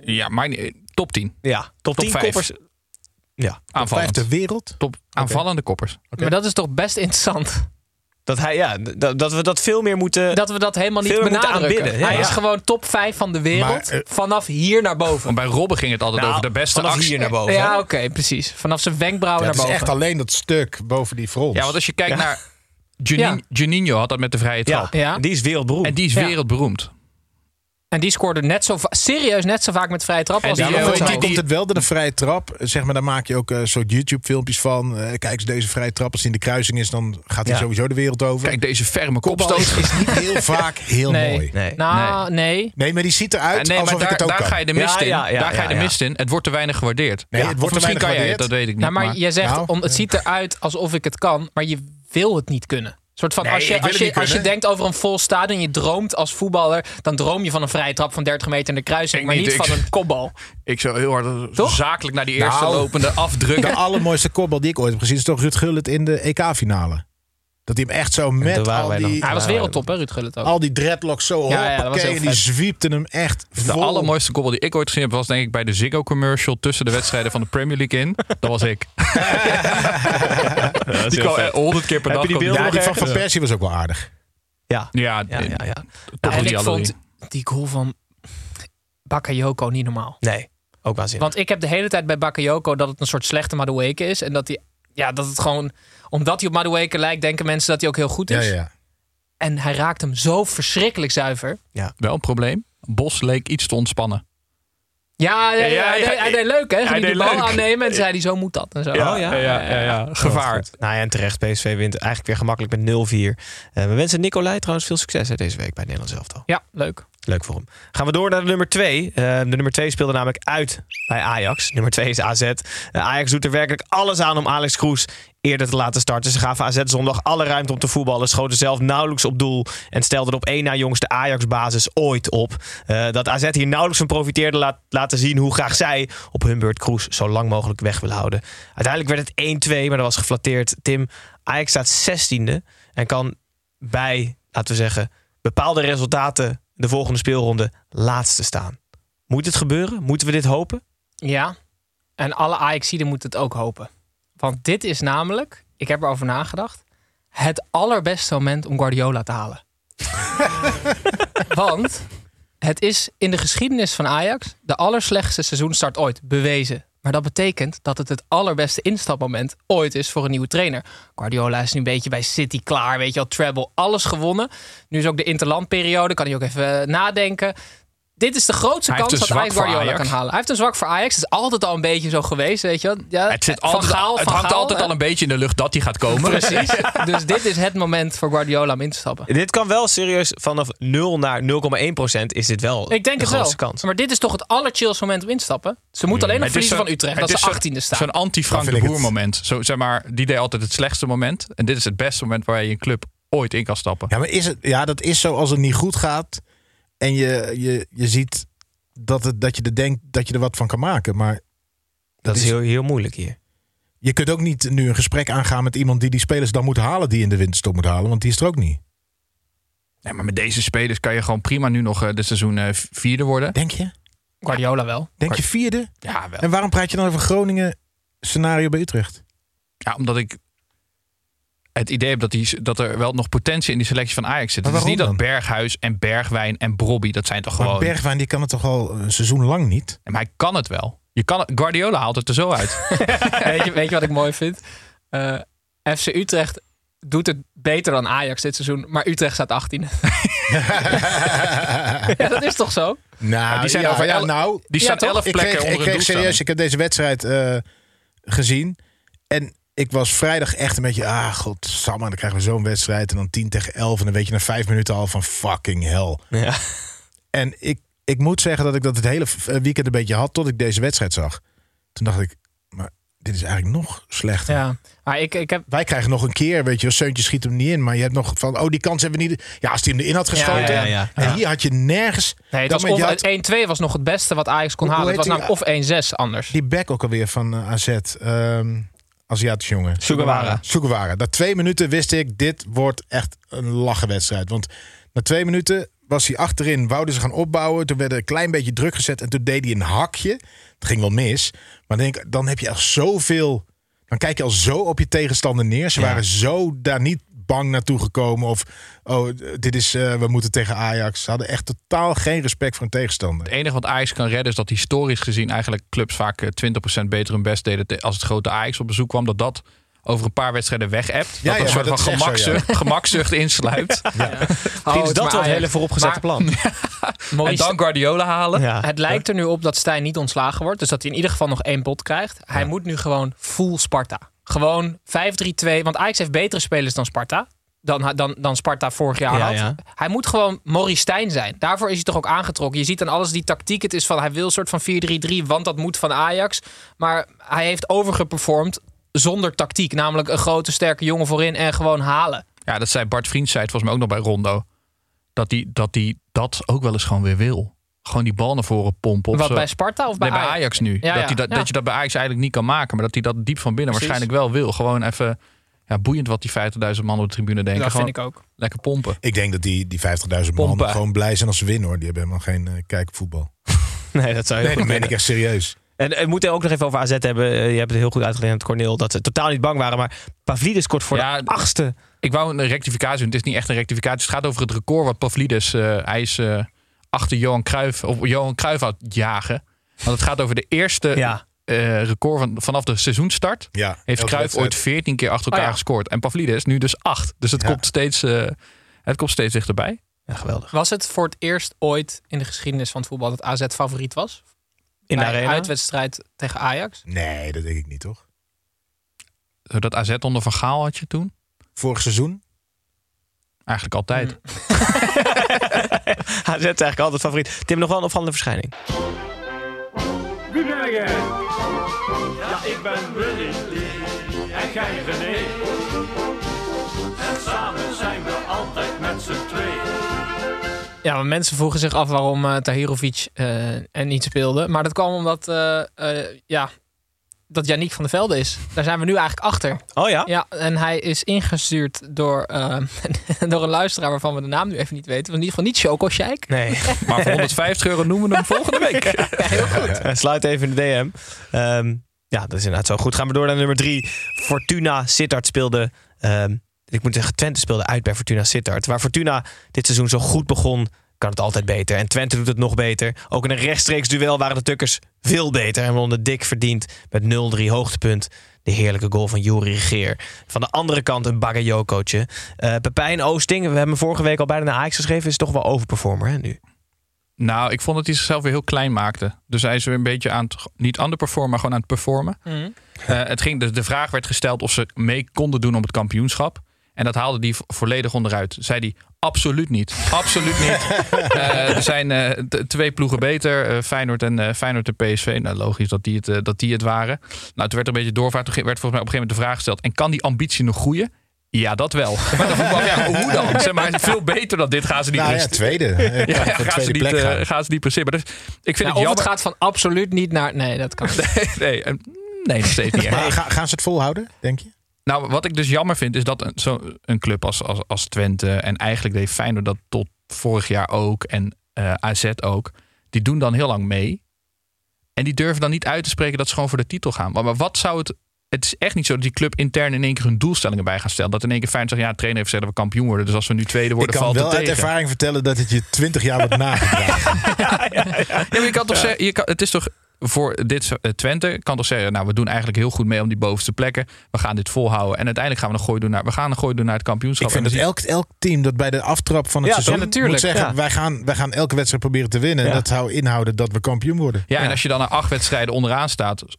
Ja, maar niet- eh, top 10.
Ja, top
Top
10
vijf.
koppers. Ja,
Vijf
Aanvallend.
ter wereld?
Top aanvallende koppers.
Maar dat is toch best interessant
dat, hij, ja dat, dat we dat veel meer moeten...
dat we dat helemaal niet
Veel meer moeten
benadrukken.
aanbidden, ja,
hij is
ja.
gewoon top 5 van de wereld
Maar, eh,
vanaf hier naar boven.
Want bij Robben ging het altijd
Nou,
over de beste
vanaf
actie.
hier naar boven.
ja,
hè?
oké, precies. Vanaf zijn wenkbrauwen
Ja, het
naar
is
boven.
echt alleen dat stuk boven die frons.
Ja, want als je kijkt naar Junin-
Ja.
Juninho had dat met de vrije trap.
Ja,
Ja.
die is wereldberoemd.
En die is
Ja.
wereldberoemd.
En die scoorde net zo va- serieus net zo vaak met vrije trap als
die,
eh,
die,
die,
die,
komt het wel door een vrije trap. Zeg maar, daar maak je ook een soort YouTube-filmpjes van. Eh, kijk eens deze vrije trap. Als die in de kruising is, dan gaat hij
Ja.
sowieso de wereld over.
Kijk, deze ferme
Kopbal
kopstoot.
is niet heel vaak heel
Nee.
mooi.
Nee.
Nou, nee.
Nee, maar die ziet
Ja,
eruit
nee,
alsof
maar daar,
ik het ook
daar
kan.
ga je de mist
Ja,
in.
ja, ja,
daar ga je
ja,
de
ja.
mist in. Het wordt te weinig gewaardeerd.
Nee,
Ja,
het wordt
of
te
misschien
weinig
kan jij het,
gewaardeerd.
dat weet ik niet.
Nou, maar,
maar-
je zegt,
Nou,
om, het ziet eruit alsof ik het kan, maar je wil het niet kunnen. Een soort van,
Nee,
als,
ik
je,
wil
als,
het
je,
niet
als je
kunnen.
denkt over een vol stadion en je droomt als voetballer, dan droom je van een vrije trap van 30 meter in de kruising,
Ik
maar niet,
niet, ik-
van een kopbal.
Ik zou heel hard
Toch?
zakelijk naar die
Nou.
eerste lopende
De
afdrukken.
allermooiste kopbal die ik ooit heb gezien is toch Ruud Gullit in de EK-finale. Dat hij hem echt zo
daar
met
waren
al
wij dan.
die,
Ja,
Hij was
Ja, ja.
wereldtop, hè, Ruud Gullit ook.
al die dreadlocks
Ja,
zo
ja, dat was
hoppakee,
heel
en die
vet.
zwiepten hem echt
De
vol.
allermooiste koppel die ik ooit gezien heb was denk ik bij de Ziggo commercial tussen de wedstrijden van de Premier League in. Dat was ik.
Ja, dat is
Die
heel
kwam eh,
vet.
100 keer per
Heb
dag.
je die
kwam
beelden
Ja, die
nog
van
ergens?
Van Persie was ook wel aardig.
Ja.
Ja,
Ja, ja, ja.
toch
en
die
ik
alle
vond
drie.
die goal van Bakayoko niet normaal.
Nee, ook waanzinnig.
Want ik heb de hele tijd bij Bakayoko dat het een soort slechte Madueke is. En dat hij, ja, dat het gewoon, omdat hij op Madueke lijkt, denken mensen dat hij ook heel goed
Ja,
Dus-
is.
ja.
En hij raakt hem zo verschrikkelijk zuiver.
Wel een probleem. Bos leek iets te ontspannen.
Ja, nee,
Ja, ja,
hij,
ja,
deed, hij
ja,
deed leuk, hè? Ging hij
hij
de
deed
bal
leuk.
aannemen en zei hij, zo moet dat. En zo. Oh, ja.
ja, ja, ja. Gevaar.
Nou ja, en terecht. PSV wint eigenlijk weer gemakkelijk met 0-4. Eh, we wensen Nicolai trouwens veel succes hè, deze week bij Nederland zelf al.
Ja, leuk.
Leuk voor hem. Gaan we door naar de nummer 2. de nummer 2 speelde namelijk uit bij Ajax. Nummer 2 is AZ. Eh, Ajax doet er werkelijk alles aan om Alex Kroes eerder te laten starten. Ze gaven AZ zondag alle ruimte om te voetballen. Schoten zelf nauwelijks op doel. En stelden op één na jongste Ajax-basis ooit op. Eh, dat AZ hier nauwelijks van profiteerde laat laten zien hoe graag zij op hun beurt Kroes zo lang mogelijk weg wil houden. Uiteindelijk werd het 1-2, maar dat was geflatteerd. Tim, Ajax staat 16e en kan bij, laten we zeggen, bepaalde resultaten de volgende speelronde laatste staan. Moet het gebeuren? Moeten we dit hopen?
Ja. En alle Ajaxiden moeten het ook hopen. Want dit is namelijk, ik heb erover nagedacht, het allerbeste moment om Guardiola te halen. Want het is in de geschiedenis van Ajax de allerslechtste seizoenstart ooit bewezen. Maar dat betekent dat het het allerbeste instapmoment ooit is voor een nieuwe trainer. Guardiola is nu een beetje bij City klaar, weet je wel, treble, alles gewonnen. Nu is ook de interlandperiode, kan hij ook even eh, nadenken. Dit is de grootste
Hij heeft
kans
een
dat Ajax
zwak voor
Guardiola
Ajax.
kan halen. Hij heeft een zwak voor Ajax, het is altijd al een beetje zo geweest, weet je wel. Ja,
Het, zit
van
altijd,
Gaal,
het
van
hangt
Gaal,
altijd
hè?
al een beetje in de lucht dat die gaat komen.
Precies. dus dit is het moment voor Guardiola om in te stappen.
Dit kan wel serieus vanaf 0 naar 0,1 procent is dit wel
Ik denk
de
het wel.
grootste kans.
Maar dit is toch het allerchillste moment om in te stappen? Ze moeten alleen nog
Het is
verliezen
zo'n-
van Utrecht.
het
Dat
is
ze
zo'n-
18e staan.
Zo'n anti-Frank
Dan
de
vind ik
Boer
het.
moment. Zo, zeg maar, die deed altijd het slechtste moment. En dit is het beste moment waar je een club ooit in kan stappen.
Ja, maar is het, ja, dat is zo als het niet goed gaat. En je, je, je ziet dat, het, dat je er denkt dat je er wat van kan maken. Maar
Dat is heel, heel moeilijk hier.
je kunt ook niet nu een gesprek aangaan met iemand die die spelers dan moet halen. Die in de winterstop moet halen. Want die is er ook niet.
Nee, maar met deze spelers kan je gewoon prima nu nog eh, dit seizoen eh, vierde worden.
Denk je?
Guardiola wel.
Denk je vierde?
Ja, wel.
En waarom praat je dan over Groningen scenario bij Utrecht?
Ja, omdat ik het idee heb dat, die, dat er wel nog potentie in die selectie van Ajax zit.
Maar
Het is niet
waarom
dat Berghuis en Bergwijn en Brobby, dat zijn toch
Maar
gewoon...
Bergwijn die kan het toch al een seizoen lang niet?
Maar hij kan het wel. Je kan, het- Guardiola haalt het er zo uit.
weet, je, weet je wat ik mooi vind? Eh, FC Utrecht doet het beter dan Ajax dit seizoen. Maar Utrecht staat 18e. ja, dat is toch zo?
Nou,
die zijn over el-
nou,
Die
Ja,
staan
toch?
elf
ik
plekken
kreeg,
onder
ik kreeg
het doel
serieus, ik heb deze wedstrijd eh, gezien. En ik was vrijdag echt een beetje, ah god, Samma, dan krijgen we zo'n wedstrijd. En dan 10 tegen 11. En dan weet je na vijf minuten al van fucking hell.
Ja.
En ik, ik moet zeggen dat ik dat het hele v- weekend een beetje had tot ik deze wedstrijd zag. Toen dacht ik, maar dit is eigenlijk nog slechter.
Ja. Maar ik, ik heb...
Wij krijgen nog een keer, weet je, wel, Seuntje schiet hem niet in. Maar je hebt nog van, oh, die kans hebben we niet. Ja, als die hem erin had geschoten.
ja, ja, ja.
En hier had je nergens.
Nee, het
dat
was
moment,
of,
je had-
het 1-2 was nog het beste wat Ajax kon
Hoe-
halen.
hoe
Het was
heet
namelijk of 1-6 anders.
Die back ook alweer van eh, AZ. ehm Aziatisch jongen.
Sugawara.
Sugawara. Na twee minuten wist ik, dit wordt echt een lachenwedstrijd. Want na twee minuten was hij achterin, wouden ze gaan opbouwen. Toen werd er een klein beetje druk gezet en toen deed hij een hakje. Het ging wel mis. Maar dan denk, ik, dan heb je echt zoveel... Dan kijk je al zo op je tegenstander neer. Ze waren zo daar niet bang naartoe gekomen. Of, oh, dit is, eh, we moeten tegen Ajax. Ze hadden echt totaal geen respect voor een tegenstander.
Het enige wat Ajax kan redden is dat historisch gezien eigenlijk clubs vaak eh, 20% beter hun best deden te- als het grote Ajax op bezoek kwam. Dat dat over een paar wedstrijden weg appt.
Ja,
dat
ja,
een soort
maar
van
dat is echt zo, ja.
gemakzucht, gemakzucht insluipt.
Oh,
Misschien is
het
dat
maar
wel het
Ajax.
hele vooropgezette
Maar-
plan.
en dan Guardiola halen.
Ja.
Het lijkt er nu op dat Stijn niet ontslagen wordt. Dus dat hij in ieder geval nog één pot krijgt. Hij moet nu gewoon full Sparta. Gewoon 5-3-2. Want Ajax heeft betere spelers dan Sparta. Dan, dan, dan Sparta vorig jaar
Ja,
had.
ja.
Hij moet gewoon Maurice Stijn zijn. Daarvoor is hij toch ook aangetrokken. Je ziet aan alles die tactiek. Het is van hij wil een soort van 4-3-3. Want dat moet van Ajax. Maar hij heeft overgeperformed zonder tactiek. Namelijk een grote sterke jongen voorin en gewoon halen.
Ja, dat zei Bart Vriend, zei het volgens mij ook nog bij Rondo. Dat die, dat die dat ook wel eens gewoon weer wil. Gewoon die bal naar voren pompen. Of
Wat
zo.
bij Sparta of bij,
nee, bij
Ajax?
Ajax nu.
Ja,
dat,
ja,
die dat,
ja.
dat je dat bij Ajax eigenlijk niet kan maken. Maar dat hij dat diep van binnen
Precies.
waarschijnlijk wel wil. Gewoon even ja, boeiend wat die 50.000 man op de tribune denken.
Dat
gewoon
vind ik ook.
lekker pompen.
Ik denk dat die, die 50.000 man
Pompen.
gewoon blij zijn als ze winnen hoor. Die hebben helemaal geen eh, kijk op voetbal.
Nee, dat zou je
Nee, dat meen ik echt serieus.
En we moeten ook nog even over AZ hebben. Eh, Je hebt het heel goed uitgelegd aan het Corneel. Dat ze totaal niet bang waren. Maar Pavlidis scoort voor
Ja,
eh,
de achtste.
Ik wou een rectificatie doen. Het is niet echt een rectificatie. Het gaat over het record wat Pavlidis... eh, hij is eh, achter Johan Cruijff... Of Johan Cruijff aan het jagen. Want het gaat over de eerste
Ja.
eh, record van, vanaf de seizoenstart.
Ja,
Heeft
elke
Cruijff
wedstrijd.
ooit 14 keer achter elkaar
Oh ja.
gescoord. En Pavlidis nu dus 8. Dus het,
Ja.
komt steeds, eh, het komt steeds dichterbij.
Ja, geweldig.
Was het voor het eerst ooit in de geschiedenis van het voetbal dat AZ favoriet was?
In de
Bij een
arena.
uitwedstrijd tegen Ajax?
Nee, dat denk ik niet toch?
Dat AZ onder Van Gaal had je toen.
Vorig seizoen?
Eigenlijk altijd.
Mm.
AZ is eigenlijk altijd favoriet. Tim, nog wel een opvallende verschijning.
Ja, ik ben Willy en jij René. En samen zijn we altijd met z'n tweeën.
Ja, maar mensen vroegen zich af waarom eh Tahirovic eh, en niet speelde. Maar dat kwam omdat, eh, eh, ja, dat Yannick van der Velde is. Daar zijn we nu eigenlijk achter.
Oh ja?
Ja, en hij is ingestuurd door, eh, door een luisteraar waarvan we de naam nu even niet weten. In ieder geval niet Choco Scheik.
Nee.
Maar voor 150 euro noemen we hem volgende week.
Heel goed. Eh, Sluit even in de DM. Ehm, ja, dat is inderdaad zo. Goed, gaan we door naar nummer drie. Fortuna Sittard speelde... ehm, ik moet zeggen, Twente speelde uit bij Fortuna Sittard. Waar Fortuna dit seizoen zo goed begon, kan het altijd beter. En Twente doet het nog beter. Ook in een rechtstreeks duel waren de Tukkers veel beter. En wonnen dik verdiend met 0-3 hoogtepunt. De heerlijke goal van Juri Geer. Van de andere kant een Bagayokootje. Eh Pepijn Oosting, we hebben hem vorige week al bijna naar Ajax geschreven... is toch wel overperformer hè, nu.
Nou, ik vond dat hij zichzelf weer heel klein maakte. Dus hij is weer een beetje aan het, niet underperformen, maar gewoon aan het performen. Eh, het ging, de, de vraag werd gesteld of ze mee konden doen om het kampioenschap. En dat haalde hij vo- volledig onderuit. Zei hij, absoluut niet. Absoluut niet. Eh, er zijn eh, t- twee ploegen beter. eh, Feyenoord, en, eh, Feyenoord en PSV. Nou, logisch dat die het, eh, dat die het waren. Nou, toen werd er een beetje doorvaart. Toen ge- werd volgens mij op een gegeven moment de vraag gesteld. En kan die ambitie nog groeien? Ja, dat wel. Maar dan vroeg ik me af, ja, hoe dan? Zeg maar, veel beter dan dit gaan ze niet
Nou ja,
presteren.
tweede. Eh,
Ja,
voor
gaan,
tweede
ze niet,
plek
eh,
gaan.
gaan ze niet presteren. Maar dus, ik
Nou,
vind het
of
jammer.
het gaat van absoluut niet naar... Nee, dat kan niet.
nee, eh, nee, nog steeds niet.
Maar
echt.
ga- gaan ze het volhouden, denk je?
Nou, wat ik dus jammer vind, is dat een, zo, een club als, als, als Twente... en eigenlijk deed Feyenoord dat tot vorig jaar ook en eh, AZ ook... die doen dan heel lang mee. En die durven dan niet uit te spreken dat ze gewoon voor de titel gaan. Maar, maar wat zou het... Het is echt niet zo dat die club intern in één keer hun doelstellingen bij gaan stellen. Dat in één keer Feyenoord zegt, ja, de trainer heeft gezegd dat we kampioen worden. Dus als we nu tweede
Ik
worden,
kan
valt het
wel
tegen.
uit ervaring vertellen dat het je 20 jaar wordt nagedragen.
Ja, maar je kan toch zeggen, je kan, het is toch voor dit eh, Twente kan toch zeggen, nou we doen eigenlijk heel goed mee om die bovenste plekken. We gaan dit volhouden en uiteindelijk gaan we een gooi doen naar, we gaan een gooi doen naar het kampioenschap.
Ik vind dat
En dan
elk, elk team dat bij de aftrap van het
Ja,
seizoen
ja, natuurlijk,
moet zeggen...
ja.
Wij, gaan, wij gaan elke wedstrijd proberen te winnen. En
Ja.
dat zou inhouden dat we kampioen worden.
zie- ja, en als je dan na acht wedstrijden onderaan staat of,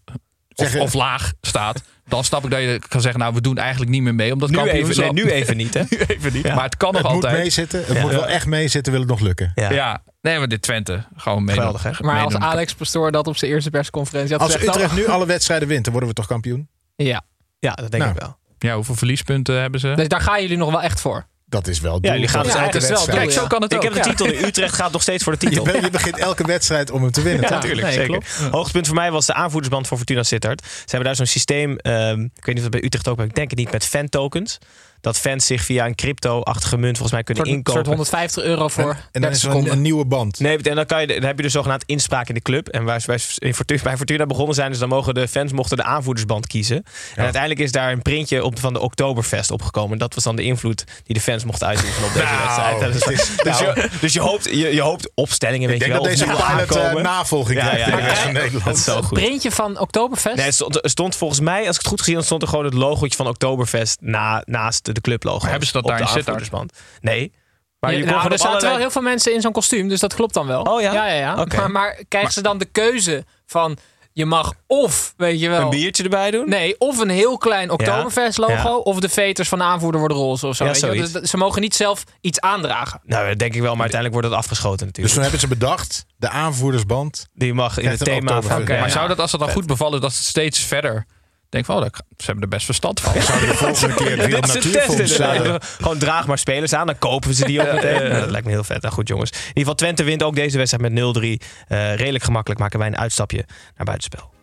Zeggen-
of laag staat, dan snap ik dat je kan zeggen, nou we doen eigenlijk niet meer mee om dat
Nu even,
kampioenschap.
nee, nu even niet, hè?
Nu even niet. Maar het kan nog
Het moet
altijd.
meezitten. Het moet wel echt meezitten, wil het nog lukken.
Ja. nee, maar dit Twente gewoon mee.
Geweldig, hè?
Maar als Alex Pastoor dat op zijn eerste persconferentie had
Als
gezegd, dan-
Utrecht nu alle wedstrijden wint, dan worden we toch kampioen?
Ja,
Ja, dat denk
Nou.
ik wel.
Ja, hoeveel verliespunten hebben ze?
dus daar gaan jullie nog wel echt voor.
Dat is wel het
Ja,
doel
jullie gaan
van
dus
elke
eigenlijk wel
wedstrijd.
Kijk, zo
ja.
kan het
Ik
ook.
heb de
ja.
titel nu. Utrecht gaat nog steeds voor de
Je,
titel.
bent- je begint elke wedstrijd om hem te winnen.
Ja,
toch?
natuurlijk,
nee,
zeker.
klopt.
Hoogtepunt voor mij was de aanvoerdersband van Fortuna Sittard. Ze hebben daar zo'n systeem, ehm, ik weet niet of dat bij Utrecht ook, maar ik denk het niet, met fan-tokens. dat fans zich via een crypto-achtige munt volgens mij kunnen
Een soort-
inkopen.
soort 150 euro voor
En- en dan
30
is er een-
seconden.
Een nieuwe band.
dus Nee, en dan, kan je, dan heb je dus zogenaamd inspraak in de club. En waar ze bij, in Fortuna, bij Fortuna begonnen zijn, dus dan mogen de fans mochten de aanvoerdersband kiezen. En uiteindelijk is daar een printje op, van de Oktoberfest opgekomen. Dat was dan de invloed die de fans mochten uitoefenen op deze
Nou,
wedstrijd. Dat is-
het is-
dus
nou.
je, dus je, hoopt, je, je hoopt opstellingen, weet
Ik denk
je wel.
dat deze
opnieuw
pilot eh,
aankomen.
navolging
Ja,
krijgt
ja,
in de
ja.
rest van
Dat
Nederland.
is zo goed.
Printje van Oktoberfest.
Nee, er stond, er stond volgens mij, als ik het goed gezien heb, stond er gewoon het logootje van Oktoberfest na, naast de clublogo.
Maar hebben ze dat
op
daar
de
in Sittard?
aanvoerdersband. Nee. Maar
Ja,
je kon
nou,
gewoon
er
op
zaten wel
allerlei-
heel veel mensen in zo'n kostuum, dus dat klopt dan wel.
Oh ja?
Ja, ja, ja.
Oké.
Maar, maar krijgen ze dan de keuze van je mag of, weet je wel...
een biertje erbij doen?
Nee, of een heel klein Oktoberfest logo,
ja.
of de veters van de aanvoerder worden roze of zo.
Ja,
weet je wel.
zoiets.
Dus dat- ze mogen niet zelf iets aandragen.
Nou, dat denk ik wel, maar uiteindelijk wordt het afgeschoten natuurlijk.
Dus toen hebben ze bedacht, de aanvoerdersband.
Die mag in
Krijgt
het
een
thema van...
Oktoberfest. Oké,
maar
ja.
zou Nou, dat, als dat dan goed bevallen, dat ze steeds verder... Denk van, oh, dat, ze hebben er best verstand van.
Zouden de volgende keer het
Dit
Wereld
is een test
Natuurfonds
inderdaad.
eh,
Gewoon draag maar spelers aan, dan kopen we ze die ook meteen. Nou, dat lijkt me heel vet. Nou goed jongens. In ieder geval Twente wint ook deze wedstrijd met 0-3. Eh, redelijk gemakkelijk maken wij een uitstapje naar buitenspel.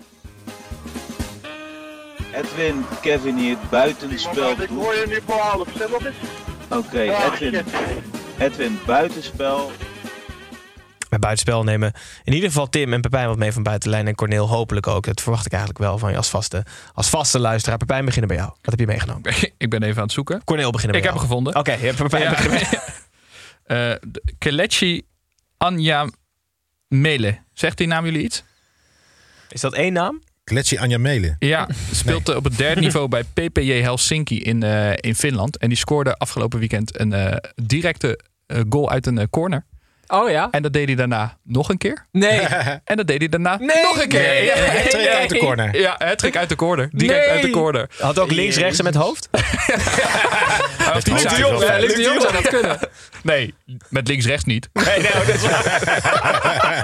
Edwin, Kevin hier, het buitenspel. Ik hoor je nu voor half, stem op Oké, Edwin. Edwin, buitenspel.
Bij buitenspel nemen in ieder geval Tim en Pepijn wat mee van buitenlijn. En Corneel hopelijk ook. Dat verwacht ik eigenlijk wel van je als vaste, als vaste luisteraar. Pepijn, beginnen bij jou. Wat heb je meegenomen?
ik ben even aan het zoeken.
Corneel, beginnen bij
Ik heb
jou.
hem gevonden.
Oké, je hebt Pepijn
Ja.
beginnen.
Eh, de- Kelechi Anja Mele. Zegt die naam jullie iets?
Is dat één naam?
Kletsi Anja Melen.
Ja, speelt eh, op het derde niveau bij PPJ Helsinki in, eh, in Finland. En die scoorde afgelopen weekend een eh, directe eh, goal uit een eh, corner.
Oh ja?
En dat deed hij daarna nog een keer.
Nee.
En dat deed hij daarna
Nee.
nog een keer.
Nee.
Ja,
Twee uit de corner.
Ja, het trek uit de corner. Direct
Nee.
uit de corner.
Had ook links, rechts en met hoofd?
Hij was
Luc
niet
de
zuiver.
Jong, hè?
Ja, Luc
Luc de Jong zou dat kunnen.
Nee, met links-rechts niet.
Nee, nou, dat is waar.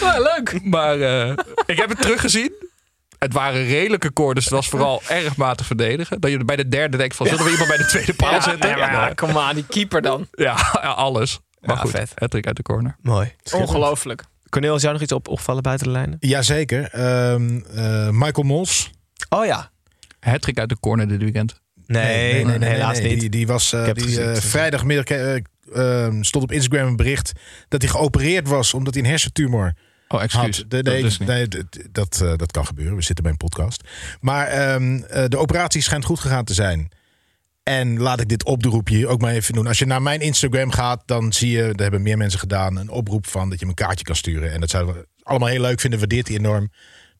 Wel leuk.
Maar eh, ik heb het teruggezien. Het waren redelijke koorden. Dus het was vooral erg matig verdedigen. Dat je bij de derde denkt van... Zullen we iemand bij de tweede paal
Ja,
zetten?
nee, maar ja, kom aan, die keeper dan.
Ja, ja, alles. Maar
Ja,
goed,
vet.
het uit de corner.
Mooi.
Ongelooflijk.
Corneel, is jou nog iets op, opvallen buiten de lijnen?
Jazeker. Ehm, eh, Michael Mols.
Oh ja.
Hattrick uit de corner dit weekend.
Nee, helaas
nee.
niet.
Die, die was eh,
heb het
die,
gezien,
eh,
het is-
vrijdagmiddag eh, eh, stond op Instagram een bericht dat hij geopereerd was omdat hij een hersentumor
Oh, excuus.
had. De- nee,
dat is niet.
nee, d- d- dat, eh, dat kan gebeuren. We zitten bij een podcast. Maar ehm, eh, de operatie schijnt goed gegaan te zijn. En laat ik dit oproepje hier ook maar even doen. Als je naar mijn Instagram gaat, dan zie je, daar hebben meer mensen gedaan, een oproep van dat je hem een kaartje kan sturen. En dat zouden we allemaal heel leuk vinden. Waardeert hij enorm.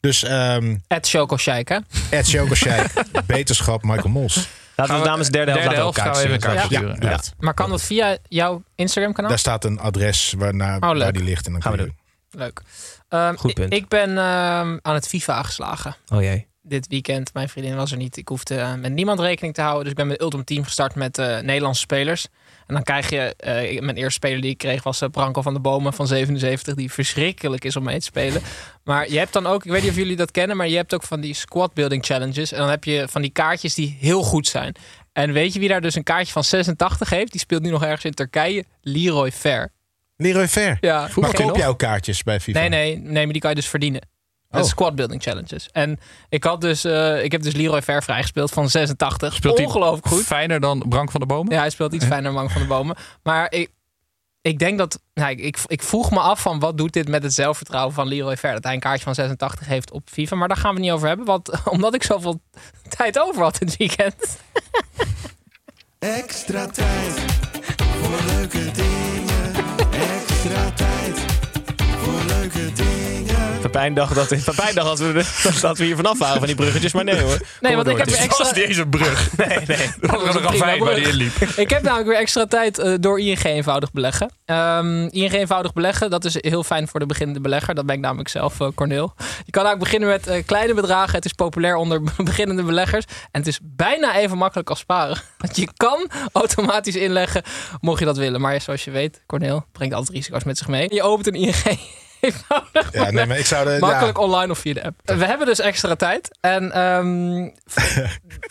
Dus ehm
Ed Choco Scheik, hè?
Ed Sjogosjijk, beterschap Michael Mols.
Laten we
Gaan we-
namens de derde helft
derde
laten we
helft gaan we
elkaar
even
sturen.
elkaar
Ja.
sturen.
Doe
Ja.
dat.
Maar kan dat via jouw Instagram-kanaal?
Daar staat een adres waarnaar, waar
leuk.
die ligt. En dan
Gaan we
kun je-
Leuk. Ehm,
Goed punt.
Ik, ik ben ehm, aan het FIFA geslagen
Oh jee.
dit weekend. Mijn vriendin was er niet. Ik hoefde eh, met niemand rekening te houden. Dus ik ben met Ultimate Team gestart met eh, Nederlandse spelers. En dan krijg je... eh, ik- mijn eerste speler die ik kreeg was eh, Branko van de Bomen van 77. Die verschrikkelijk is om mee te spelen. Maar je hebt dan ook... Ik weet niet of jullie dat kennen. Maar je hebt ook van die squad building challenges. En dan heb je van die kaartjes die heel goed zijn. En weet je wie daar dus een kaartje van 86 heeft? Die speelt nu nog ergens in Turkije. Leroy Fair.
Leroy Fair.
Ja,
Maar
vroeger
koop
nog.
jij ook kaartjes bij FIFA?
Nee, nee, nee, maar die kan je dus verdienen. Dat
Oh.
is squad building challenges. En ik, had dus, eh, ik heb dus Leroy Ver vrijgespeeld van 86.
Speelt hij
Ongelooflijk goed.
Fijner dan Brank van der Bomen?
Ja, hij speelt iets fijner Mang van de Bomen. Maar ik, ik denk dat... Nou, ik, ik, ik vroeg me af van wat doet dit met het zelfvertrouwen van Leroy Ver. Dat hij een kaartje van 86 heeft op FIFA. Maar daar gaan we het niet over hebben. Want omdat ik zoveel tijd over had dit weekend.
Extra tijd voor leuke dingen. Extra tijd voor leuke dingen.
Pepijn dacht dat, Pepijn dacht dat, we, de- dat we hier vanaf waren van die bruggetjes, maar nee hoor.
Nee, want ik heb
Dit
weer extra...
was niet eens een brug. Nee, nee. Dat was een ravijn waar die in liep.
Ik heb namelijk weer extra tijd eh, door ING eenvoudig beleggen. Ehm, ING eenvoudig beleggen, dat is heel fijn voor de beginnende belegger. Dat ben ik namelijk zelf, eh, Corneel. Je kan eigenlijk beginnen met eh, kleine bedragen. Het is populair onder beginnende beleggers. En het is bijna even makkelijk als sparen. Want je kan automatisch inleggen, mocht je dat willen. Maar zoals je weet, Corneel brengt altijd risico's met zich mee. Je opent een ING eenvoudig
Ja, nee, maar ik zou de,
Makkelijk
ja.
online of via de app. We hebben dus extra tijd. En ehm,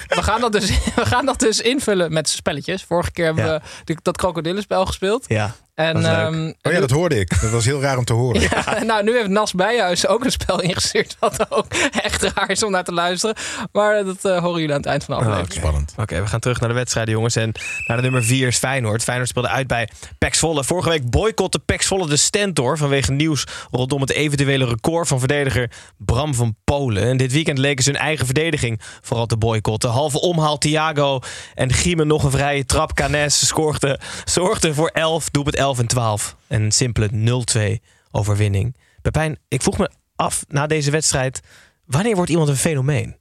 we, gaan dat dus, we gaan dat dus invullen met spelletjes. Vorige keer hebben
Ja.
we de- dat krokodillenspel gespeeld.
Ja.
En,
Dat is leuk.
ehm,
oh ja, dat hoorde ik. Dat was heel raar om te horen.
Ja, nou, nu heeft Nas Bijhuis ook een spel ingestuurd. Wat ook echt raar is om naar te luisteren. Maar eh, dat eh, horen jullie aan het eind van
Oh.
de aflevering.
Spannend.
Oké, we gaan terug naar de wedstrijden, jongens. En naar de nummer 4 is Feyenoord. Feyenoord speelde uit bij Pax Volle. Vorige week boycotte Pax Volle de Stentor vanwege nieuws rondom het eventuele record van verdediger Bram van Polen. En dit weekend leken ze hun eigen verdediging vooral te boycotten. Halve omhaal Thiago en Giemen nog een vrije trap. Canes scoorde, zorgde voor 11, doelpunt 11 en 12. En een simpele 0-2 overwinning. Pepijn, ik vroeg me af na deze wedstrijd, wanneer wordt iemand een fenomeen?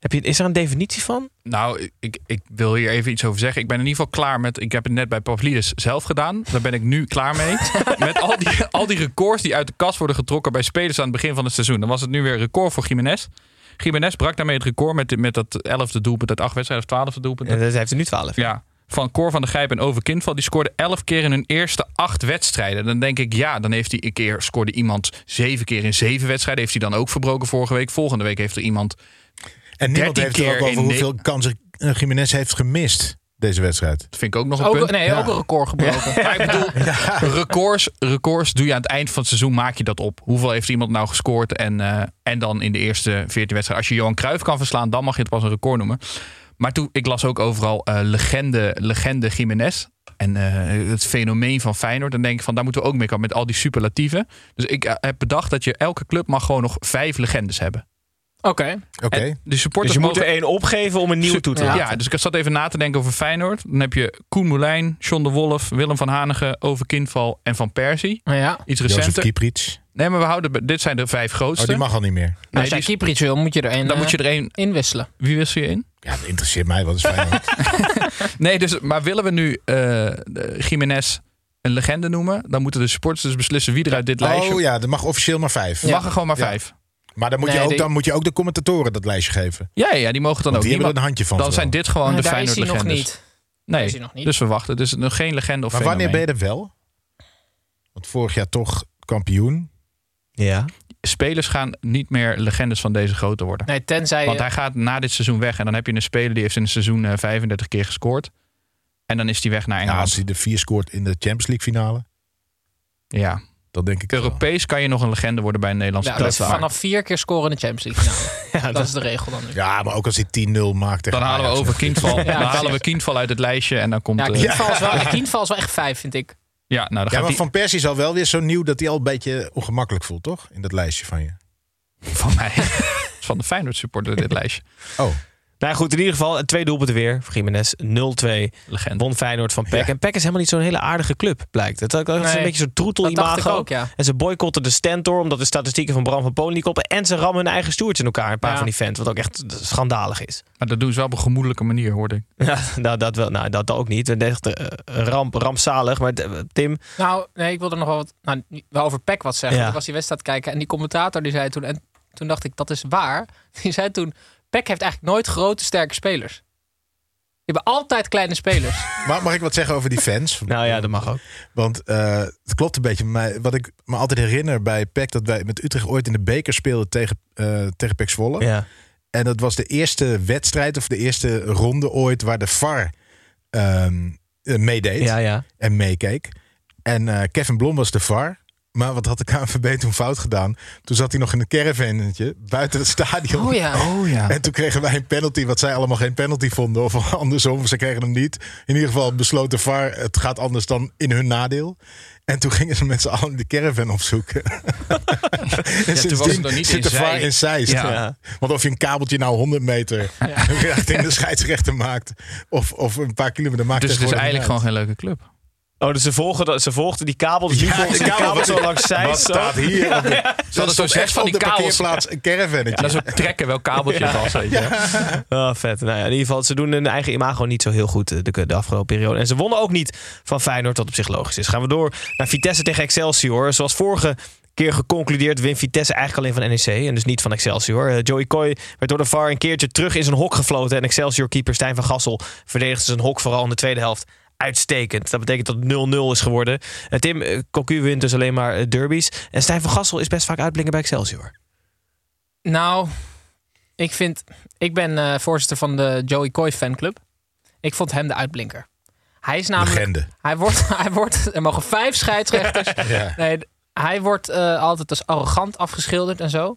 Heb je, is er een definitie van?
Nou, ik, ik wil hier even iets over zeggen. Ik ben in ieder geval klaar met. Ik heb het net bij Pavlidis zelf gedaan. Daar ben ik nu klaar mee. met al die, al die records die uit de kast worden getrokken bij spelers aan het begin van het seizoen. Dan was het nu weer een record voor Jiménez. Jiménez brak daarmee het record met, met dat 11e doelpunt, dat 8 wedstrijden of 12e doelpunt.
En dat heeft er nu 12.
Ja. Van Cor van der Gijp en Over Kindval. Die scoorden 11 keer in hun eerste 8 wedstrijden. Dan denk ik, ja, dan heeft hij een keer. scoorde iemand 7 keer in 7 wedstrijden. Heeft hij dan ook verbroken vorige week. Volgende week heeft er iemand.
En niemand
13
heeft het
keer
ook over
in ne-
hoeveel kansen eh, Jiménez heeft gemist deze wedstrijd.
Dat vind ik ook nog een
Ook-
punt.
nee, ook een record gebroken.
Ja. Maar ik bedoel, records, records doe je aan het eind van het seizoen, maak je dat op. Hoeveel heeft iemand nou gescoord en, eh, en dan in de eerste 14 wedstrijden. Als je Johan Cruijff kan verslaan, dan mag je het pas een record noemen. Maar toen, ik las ook overal eh, legende, legende Jiménez. En eh, het fenomeen van Feyenoord. Dan denk ik van, daar moeten we ook mee komen met al die superlatieven. Dus ik eh, heb bedacht dat je elke club mag gewoon nog vijf legendes hebben.
Oké.
Oké.
En De supporters
Dus je moet
mogen-
er één opgeven om een nieuwe toe te
ja.
laten.
dus ik zat even na te denken over Feyenoord. Dan heb je Koen Moulijn, John de Wolf, Willem van Hanegem, Over Kindval en Van Persie.
Ja.
Iets
Jozef
recenter.
Kieprits.
Nee, maar we houden, bij- dit zijn de vijf grootste.
Oh, die Oh, mag al niet meer.
Nee,
als jij
die is-
keeper iets wil, moet je er een,
dan
eh,
moet je Oh, er één...
inwisselen.
Wie wissel je in?
Ja, dat interesseert mij. Wat is Feyenoord?
Nee, dus, maar willen we nu eh eh, Jiménez een legende noemen... dan moeten de supporters dus beslissen wie er uit dit lijstje...
oh ja, er mag officieel maar vijf.
Mag er gewoon maar
Ja.
vijf.
Maar dan moet,
Nee,
je ook,
die-
dan moet je ook de commentatoren dat lijstje geven.
Ja, ja, die mogen het dan
Want
ook.
die hebben
mag-
er een handje van
Dan
vooral.
zijn dit gewoon
Maar
de
daar is
Feyenoord
hij nog
legendes.
niet.
Nee,
Is hij nog niet.
dus we wachten. Dus nog geen legende of
Maar wanneer ben
fenomeen.
je er wel? Want vorig jaar toch kampioen.
Ja.
Spelers gaan niet meer legendes van deze grootte worden.
Nee, tenzij...
Want hij gaat na dit seizoen weg. En dan heb je een speler die heeft in een seizoen eh, 35 keer gescoord. En dan is hij weg naar
Ja,
Engeland.
als hij de vier scoort in de Champions League finale,
Ja,
dan denk ik. het wel.
Europees kan je nog een legende worden bij een Nederlandse
ja,
club.
dat vanaf vier keer scoren in de Champions League. finale. dat, is de regel dan nu.
Ja, maar ook als hij 10-0 maakt. tegen
Dan halen we
Ajax
over
nog.
Kindval.
Ja,
dan halen we
precies.
Kindval uit het lijstje. En dan komt...
Ja,
eh,
Kindval is, wel- Kindval is wel echt vijf, vind ik.
ja, nou, dan
Ja,
gaat
maar
die-
Van Persie is al wel weer zo nieuw dat hij al een beetje ongemakkelijk voelt, toch? In dat lijstje van je.
van mij. is van de Feyenoord supporter dit lijstje.
Oh,
Nou ja, goed, in ieder geval eh, twee doelpunten weer. voor Jiménez 0-2.
Legende.
Won Feyenoord van PEC.
Ja.
En PEC is helemaal niet zo'n hele aardige club, blijkt. Het dat is
Nee.
een beetje zo'n troetel
Dat dacht ik
imago.
ook, ja.
En ze boycotten de Stentor omdat de statistieken van Bram van Polen niet kloppen. En ze rammen hun eigen stoertje in elkaar. Een paar
Ja.
van die fans, wat ook echt schandalig is.
Maar dat doen ze wel op een gemoedelijke manier, hoorde ik.
Ja, nou, dat, wel, nou, dat ook niet. Het is Echt eh, ramp, rampzalig. Maar eh, Tim,
Nou, nee, ik wilde nog wel, wat, nou, niet- wel over Peck wat zeggen.
Ja.
Ik was die wedstrijd kijken en die commentator die zei toen... En toen dacht ik, dat is waar. Die zei toen, Peck heeft eigenlijk nooit grote, sterke spelers. Die hebben altijd kleine spelers.
maar mag ik wat zeggen over die fans?
nou ja, dat mag ook.
Want eh, het klopt een beetje. met mij. wat ik me altijd herinner bij PEC... dat wij met Utrecht ooit in de beker speelden tegen, eh tegen PEC Zwolle.
Ja.
En dat was de eerste wedstrijd of de eerste ronde ooit... waar de VAR ehm, eh, meedeed
Ja, ja.
en meekeek. En eh, Kevin Blom was de VAR. Maar wat had de KNVB toen fout gedaan? Toen zat hij nog in een caravannetje buiten het stadion.
Oh ja.
Oh ja.
En toen kregen wij een penalty, wat zij allemaal geen penalty vonden. Of andersom, ze kregen hem niet. In ieder geval besloot de VAR, het gaat anders dan in hun nadeel. En toen gingen ze met z'n allen de caravan opzoeken. en sindsdien
was het nog niet
zit
in
de VAR
Zeist.
in Zeist.
Ja.
Ja.
Want of je een kabeltje nou 100 meter richting de scheidsrechter maakt... of, of een paar kilometer maakt...
Dus het is
tegenwoordig
eigenlijk
niet
gewoon
uit.
geen leuke club.
Oh, dus ze volgen, dat- ze volgden die kabel. Dus nu
Ja,
volgen
de
ze die
kabel.
kabel zo langs zij.
Wat
zo.
staat hier? op de-
Ze hadden zo'n
stond
zes
echt
van
op
die
de
kabels.
parkeerplaats een caravannetje.
Ja, dat is ook trekken, wel kabeltjes als. weet je.
Ah, vet. Nou ja, in ieder geval, ze doen hun eigen imago niet zo heel goed eh, de, de afgelopen periode. En ze wonnen ook niet van Feyenoord, wat op zich logisch is. Gaan we door naar Vitesse tegen Excelsior. Zoals vorige keer geconcludeerd wint Vitesse eigenlijk alleen van NEC en dus niet van Excelsior. Eh, Joey Coy werd door de VAR een keertje terug in zijn hok gefloten. En Excelsior-keeper Stijn van Gassel verdedigde zijn hok vooral in de tweede helft. Uitstekend. Dat betekent dat het 0-0 is geworden. En Tim, eh, Cocu wint dus alleen maar eh, derbies. En Stijn van Gassel is best vaak uitblinken bij Excelsior.
Nou, ik vind... Ik ben eh, voorzitter van de Joey Coy fanclub. Ik vond hem de uitblinker. Hij is namelijk.
Legende.
Hij wordt, hij wordt. Er mogen vijf scheidsrechters.
Ja.
Nee, d- hij wordt eh, altijd als arrogant afgeschilderd en zo.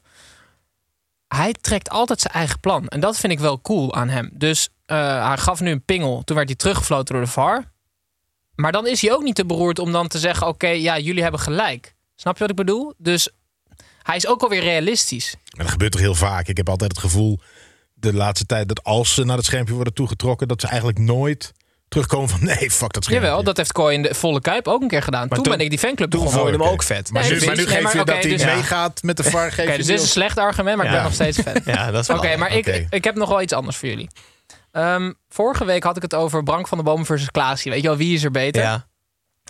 Hij trekt altijd zijn eigen plan. En dat vind ik wel cool aan hem. Dus eh, hij gaf nu een pingel. Toen werd hij teruggefloten door de VAR. Maar dan is hij ook niet te beroerd om dan te zeggen: oké, ja, jullie hebben gelijk. Snap je wat ik bedoel? Dus hij is ook alweer realistisch.
En dat gebeurt toch heel vaak. Ik heb altijd het gevoel de laatste tijd dat als ze naar het schermpje worden toegetrokken, dat ze eigenlijk nooit terugkomen van nee, fuck dat schermpje.
Jawel, dat heeft Kooi in de volle kuip ook een keer gedaan. toen,
toen-
ben ik die fanclub
toen
begonnen.
vond je hem ook vet. Maar nu-
precies.
maar nu geef je
oké,
dat hij meegaat met de VAR, geef
Oké,
je
dus dit is een
deel.
slecht argument, maar ik
Ja.
ben nog steeds fan.
Ja, dat is wel-
Oké, maar ik,
oké.
ik heb nog wel iets anders voor jullie. Ehm, vorige week had ik het over Brank van der Boom versus Klaasie. Weet je wel, wie is er beter?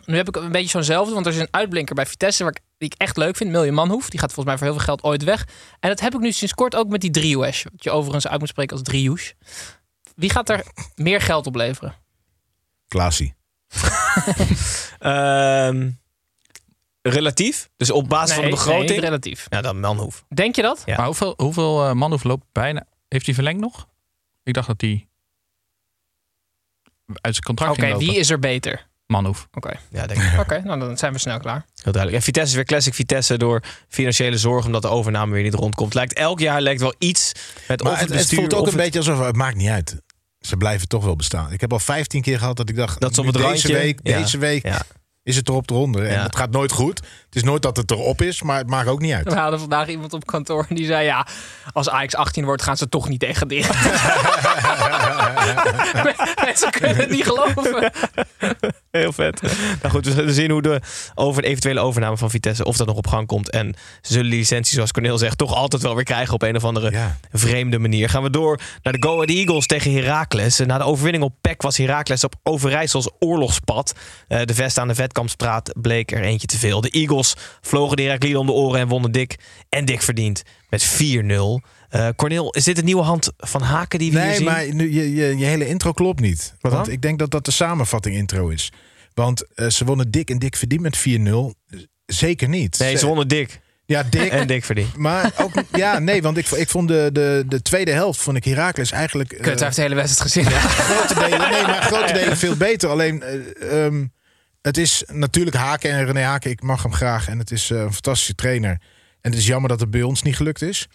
Nu heb ik een beetje zo'nzelfde, want er is een uitblinker bij Vitesse waar ik, die ik echt leuk vind. Milje Manhoef, die gaat volgens mij voor heel veel geld ooit weg. En dat heb ik nu sinds kort ook met die Drioes. Wat je overigens uit moet spreken als Drioes. Wie gaat er meer geld opleveren?
Klaasie.
Ehm, relatief? Dus op basis van de
Nee,
begroting?
nee,
relatief.
Ja, dan Manhoef.
Denk je dat?
Maar hoeveel, hoeveel eh, Manhoef loopt bijna... Heeft hij verlengd nog? Ik dacht dat hij uit zijn contract
Oké,
ging lopen.
wie is er beter?
Manhoef.
Oké.
Ja, denk ik.
Oké, nou dan zijn we snel klaar.
Heel duidelijk. En Vitesse is weer classic Vitesse door financiële zorg omdat de overname weer niet rondkomt. Lijkt elk jaar lijkt wel iets met
Maar
of
het,
het
het
bestuur
voelt ook
of
een beetje alsof het maakt niet uit. Ze blijven toch wel bestaan. Ik heb al 15 keer gehad dat ik dacht
Dat is op
nu
het
deze
randje.
week,
Ja.
deze week is het erop eronder. En
Ja.
het gaat nooit goed. Het is nooit dat het erop is, maar het maakt ook niet uit.
We hadden vandaag iemand op kantoor en die zei: Ja, als Ajax 18 wordt, gaan ze toch niet degraderen. Mensen kunnen het niet geloven.
Heel vet. Nou goed, we zullen zien hoe de over de eventuele overname van Vitesse, of dat nog op gang komt. En ze zullen die licentie, zoals Cornel zegt, toch altijd wel weer krijgen op een of andere vreemde manier. Gaan we door naar de Go Ahead Eagles tegen Heracles. Na de overwinning op PEC was Heracles op Overijssels oorlogspad. Eh, De vest aan de Vetkampspraat bleek er eentje te veel. De Eagles vlogen de Heraclieden om de oren en wonnen dik en dik verdiend met 4-0. Eh Cornel, is dit een nieuwe hand van Haken die we hier
Nee,
zien?
maar nu, je, je, je hele intro klopt niet.
Wat
want
dan?
ik denk dat dat de samenvatting intro is. Want eh, ze wonnen dik en dik verdiend met 4-0. Zeker niet.
Nee, ze wonnen dik.
Ja, dik.
En dik verdiend.
Maar ook, ja, nee, want ik, ik vond de, de, de tweede helft, vond ik Herakles eigenlijk... eh,
Kut, hij heeft de hele wedstrijd gezien.
grote delen, nee, maar grote delen veel beter. Alleen, eh, ehm, het is natuurlijk Haken en René Haken. Ik mag hem graag en het is eh, een fantastische trainer. En het is jammer dat het bij ons niet gelukt is.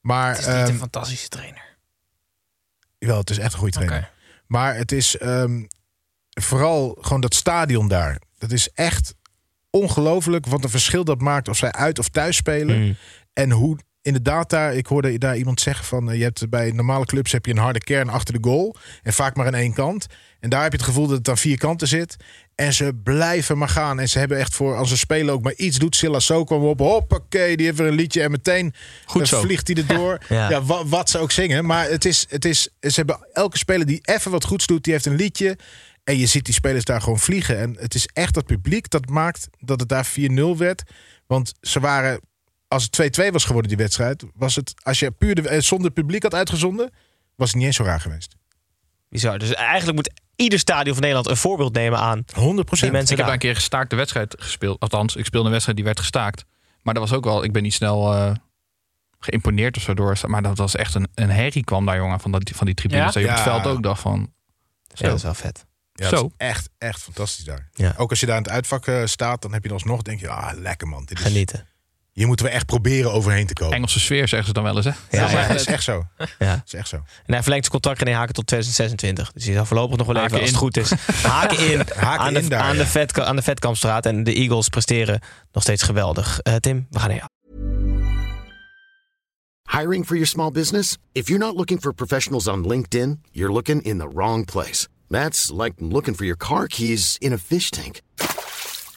Maar,
Het is niet een
ehm,
fantastische trainer.
Jawel, het is echt een goede trainer.
Oké.
Maar het is ehm, vooral gewoon dat stadion daar. Dat is echt ongelooflijk wat een verschil dat maakt of zij uit of thuis spelen.
Hmm.
En hoe inderdaad daar, ik hoorde daar iemand zeggen van... eh, je hebt bij normale clubs heb je een harde kern achter de goal. En vaak maar aan één kant. En daar heb je het gevoel dat het aan vier kanten zit. En ze blijven maar gaan. En ze hebben echt voor, als een speler ook maar iets doet... Silla zo kwam op, hoppakee, die heeft weer een liedje. En meteen
Goed
eh,
zo.
vliegt hij erdoor.
Ja.
ja, ja, wa- wat ze ook zingen. Maar het is, het is, ze hebben elke speler die even wat goeds doet, die heeft een liedje. En je ziet die spelers daar gewoon vliegen. En het is echt dat publiek dat maakt dat het daar 4-0 werd. Want ze waren, als het 2-2 was geworden die wedstrijd, was het, als je puur de, eh, zonder publiek had uitgezonden, was het niet eens zo raar geweest.
Bizar. Dus eigenlijk moet ieder stadion van Nederland een voorbeeld nemen aan
100
die mensen
ik heb daar
daar.
een keer gestaakte wedstrijd gespeeld. Althans, ik speelde een wedstrijd die werd gestaakt. Maar dat was ook wel, ik ben niet snel eh, geïmponeerd of zo door. Maar dat was echt een, een herrie kwam daar, jongen, van, dat, van die tribunes.
Ja?
Dat je op het
Ja.
veld ook dacht van... Zo.
Ja, dat is wel vet.
Ja,
Zo.
het is echt, echt fantastisch daar.
Ja.
Ook als je daar in het uitvak eh, staat, dan heb je dan alsnog, denk je, ah, lekker man. Dit is,
Genieten.
Hier moeten we echt proberen overheen te komen.
Engelse sfeer zeggen ze dan wel eens, hè?
Ja,
Ja,
ja.
dat is echt zo.
Ja.
Dat is echt zo.
En hij verlengt zijn contract in Haken tot 2026. Dus hij zal voorlopig nog wel
Haken
even, als het
in.
goed is, haken in,
Haken
aan, de,
in daar,
aan,
ja.
de Vet- aan de Vetkampstraat. En de Eagles presteren nog steeds geweldig. Eh, Tim, we gaan naar jou.
Hiring for your small business? If you're not looking for professionals on LinkedIn, you're looking in the wrong place. That's like looking for your car keys in a fish tank.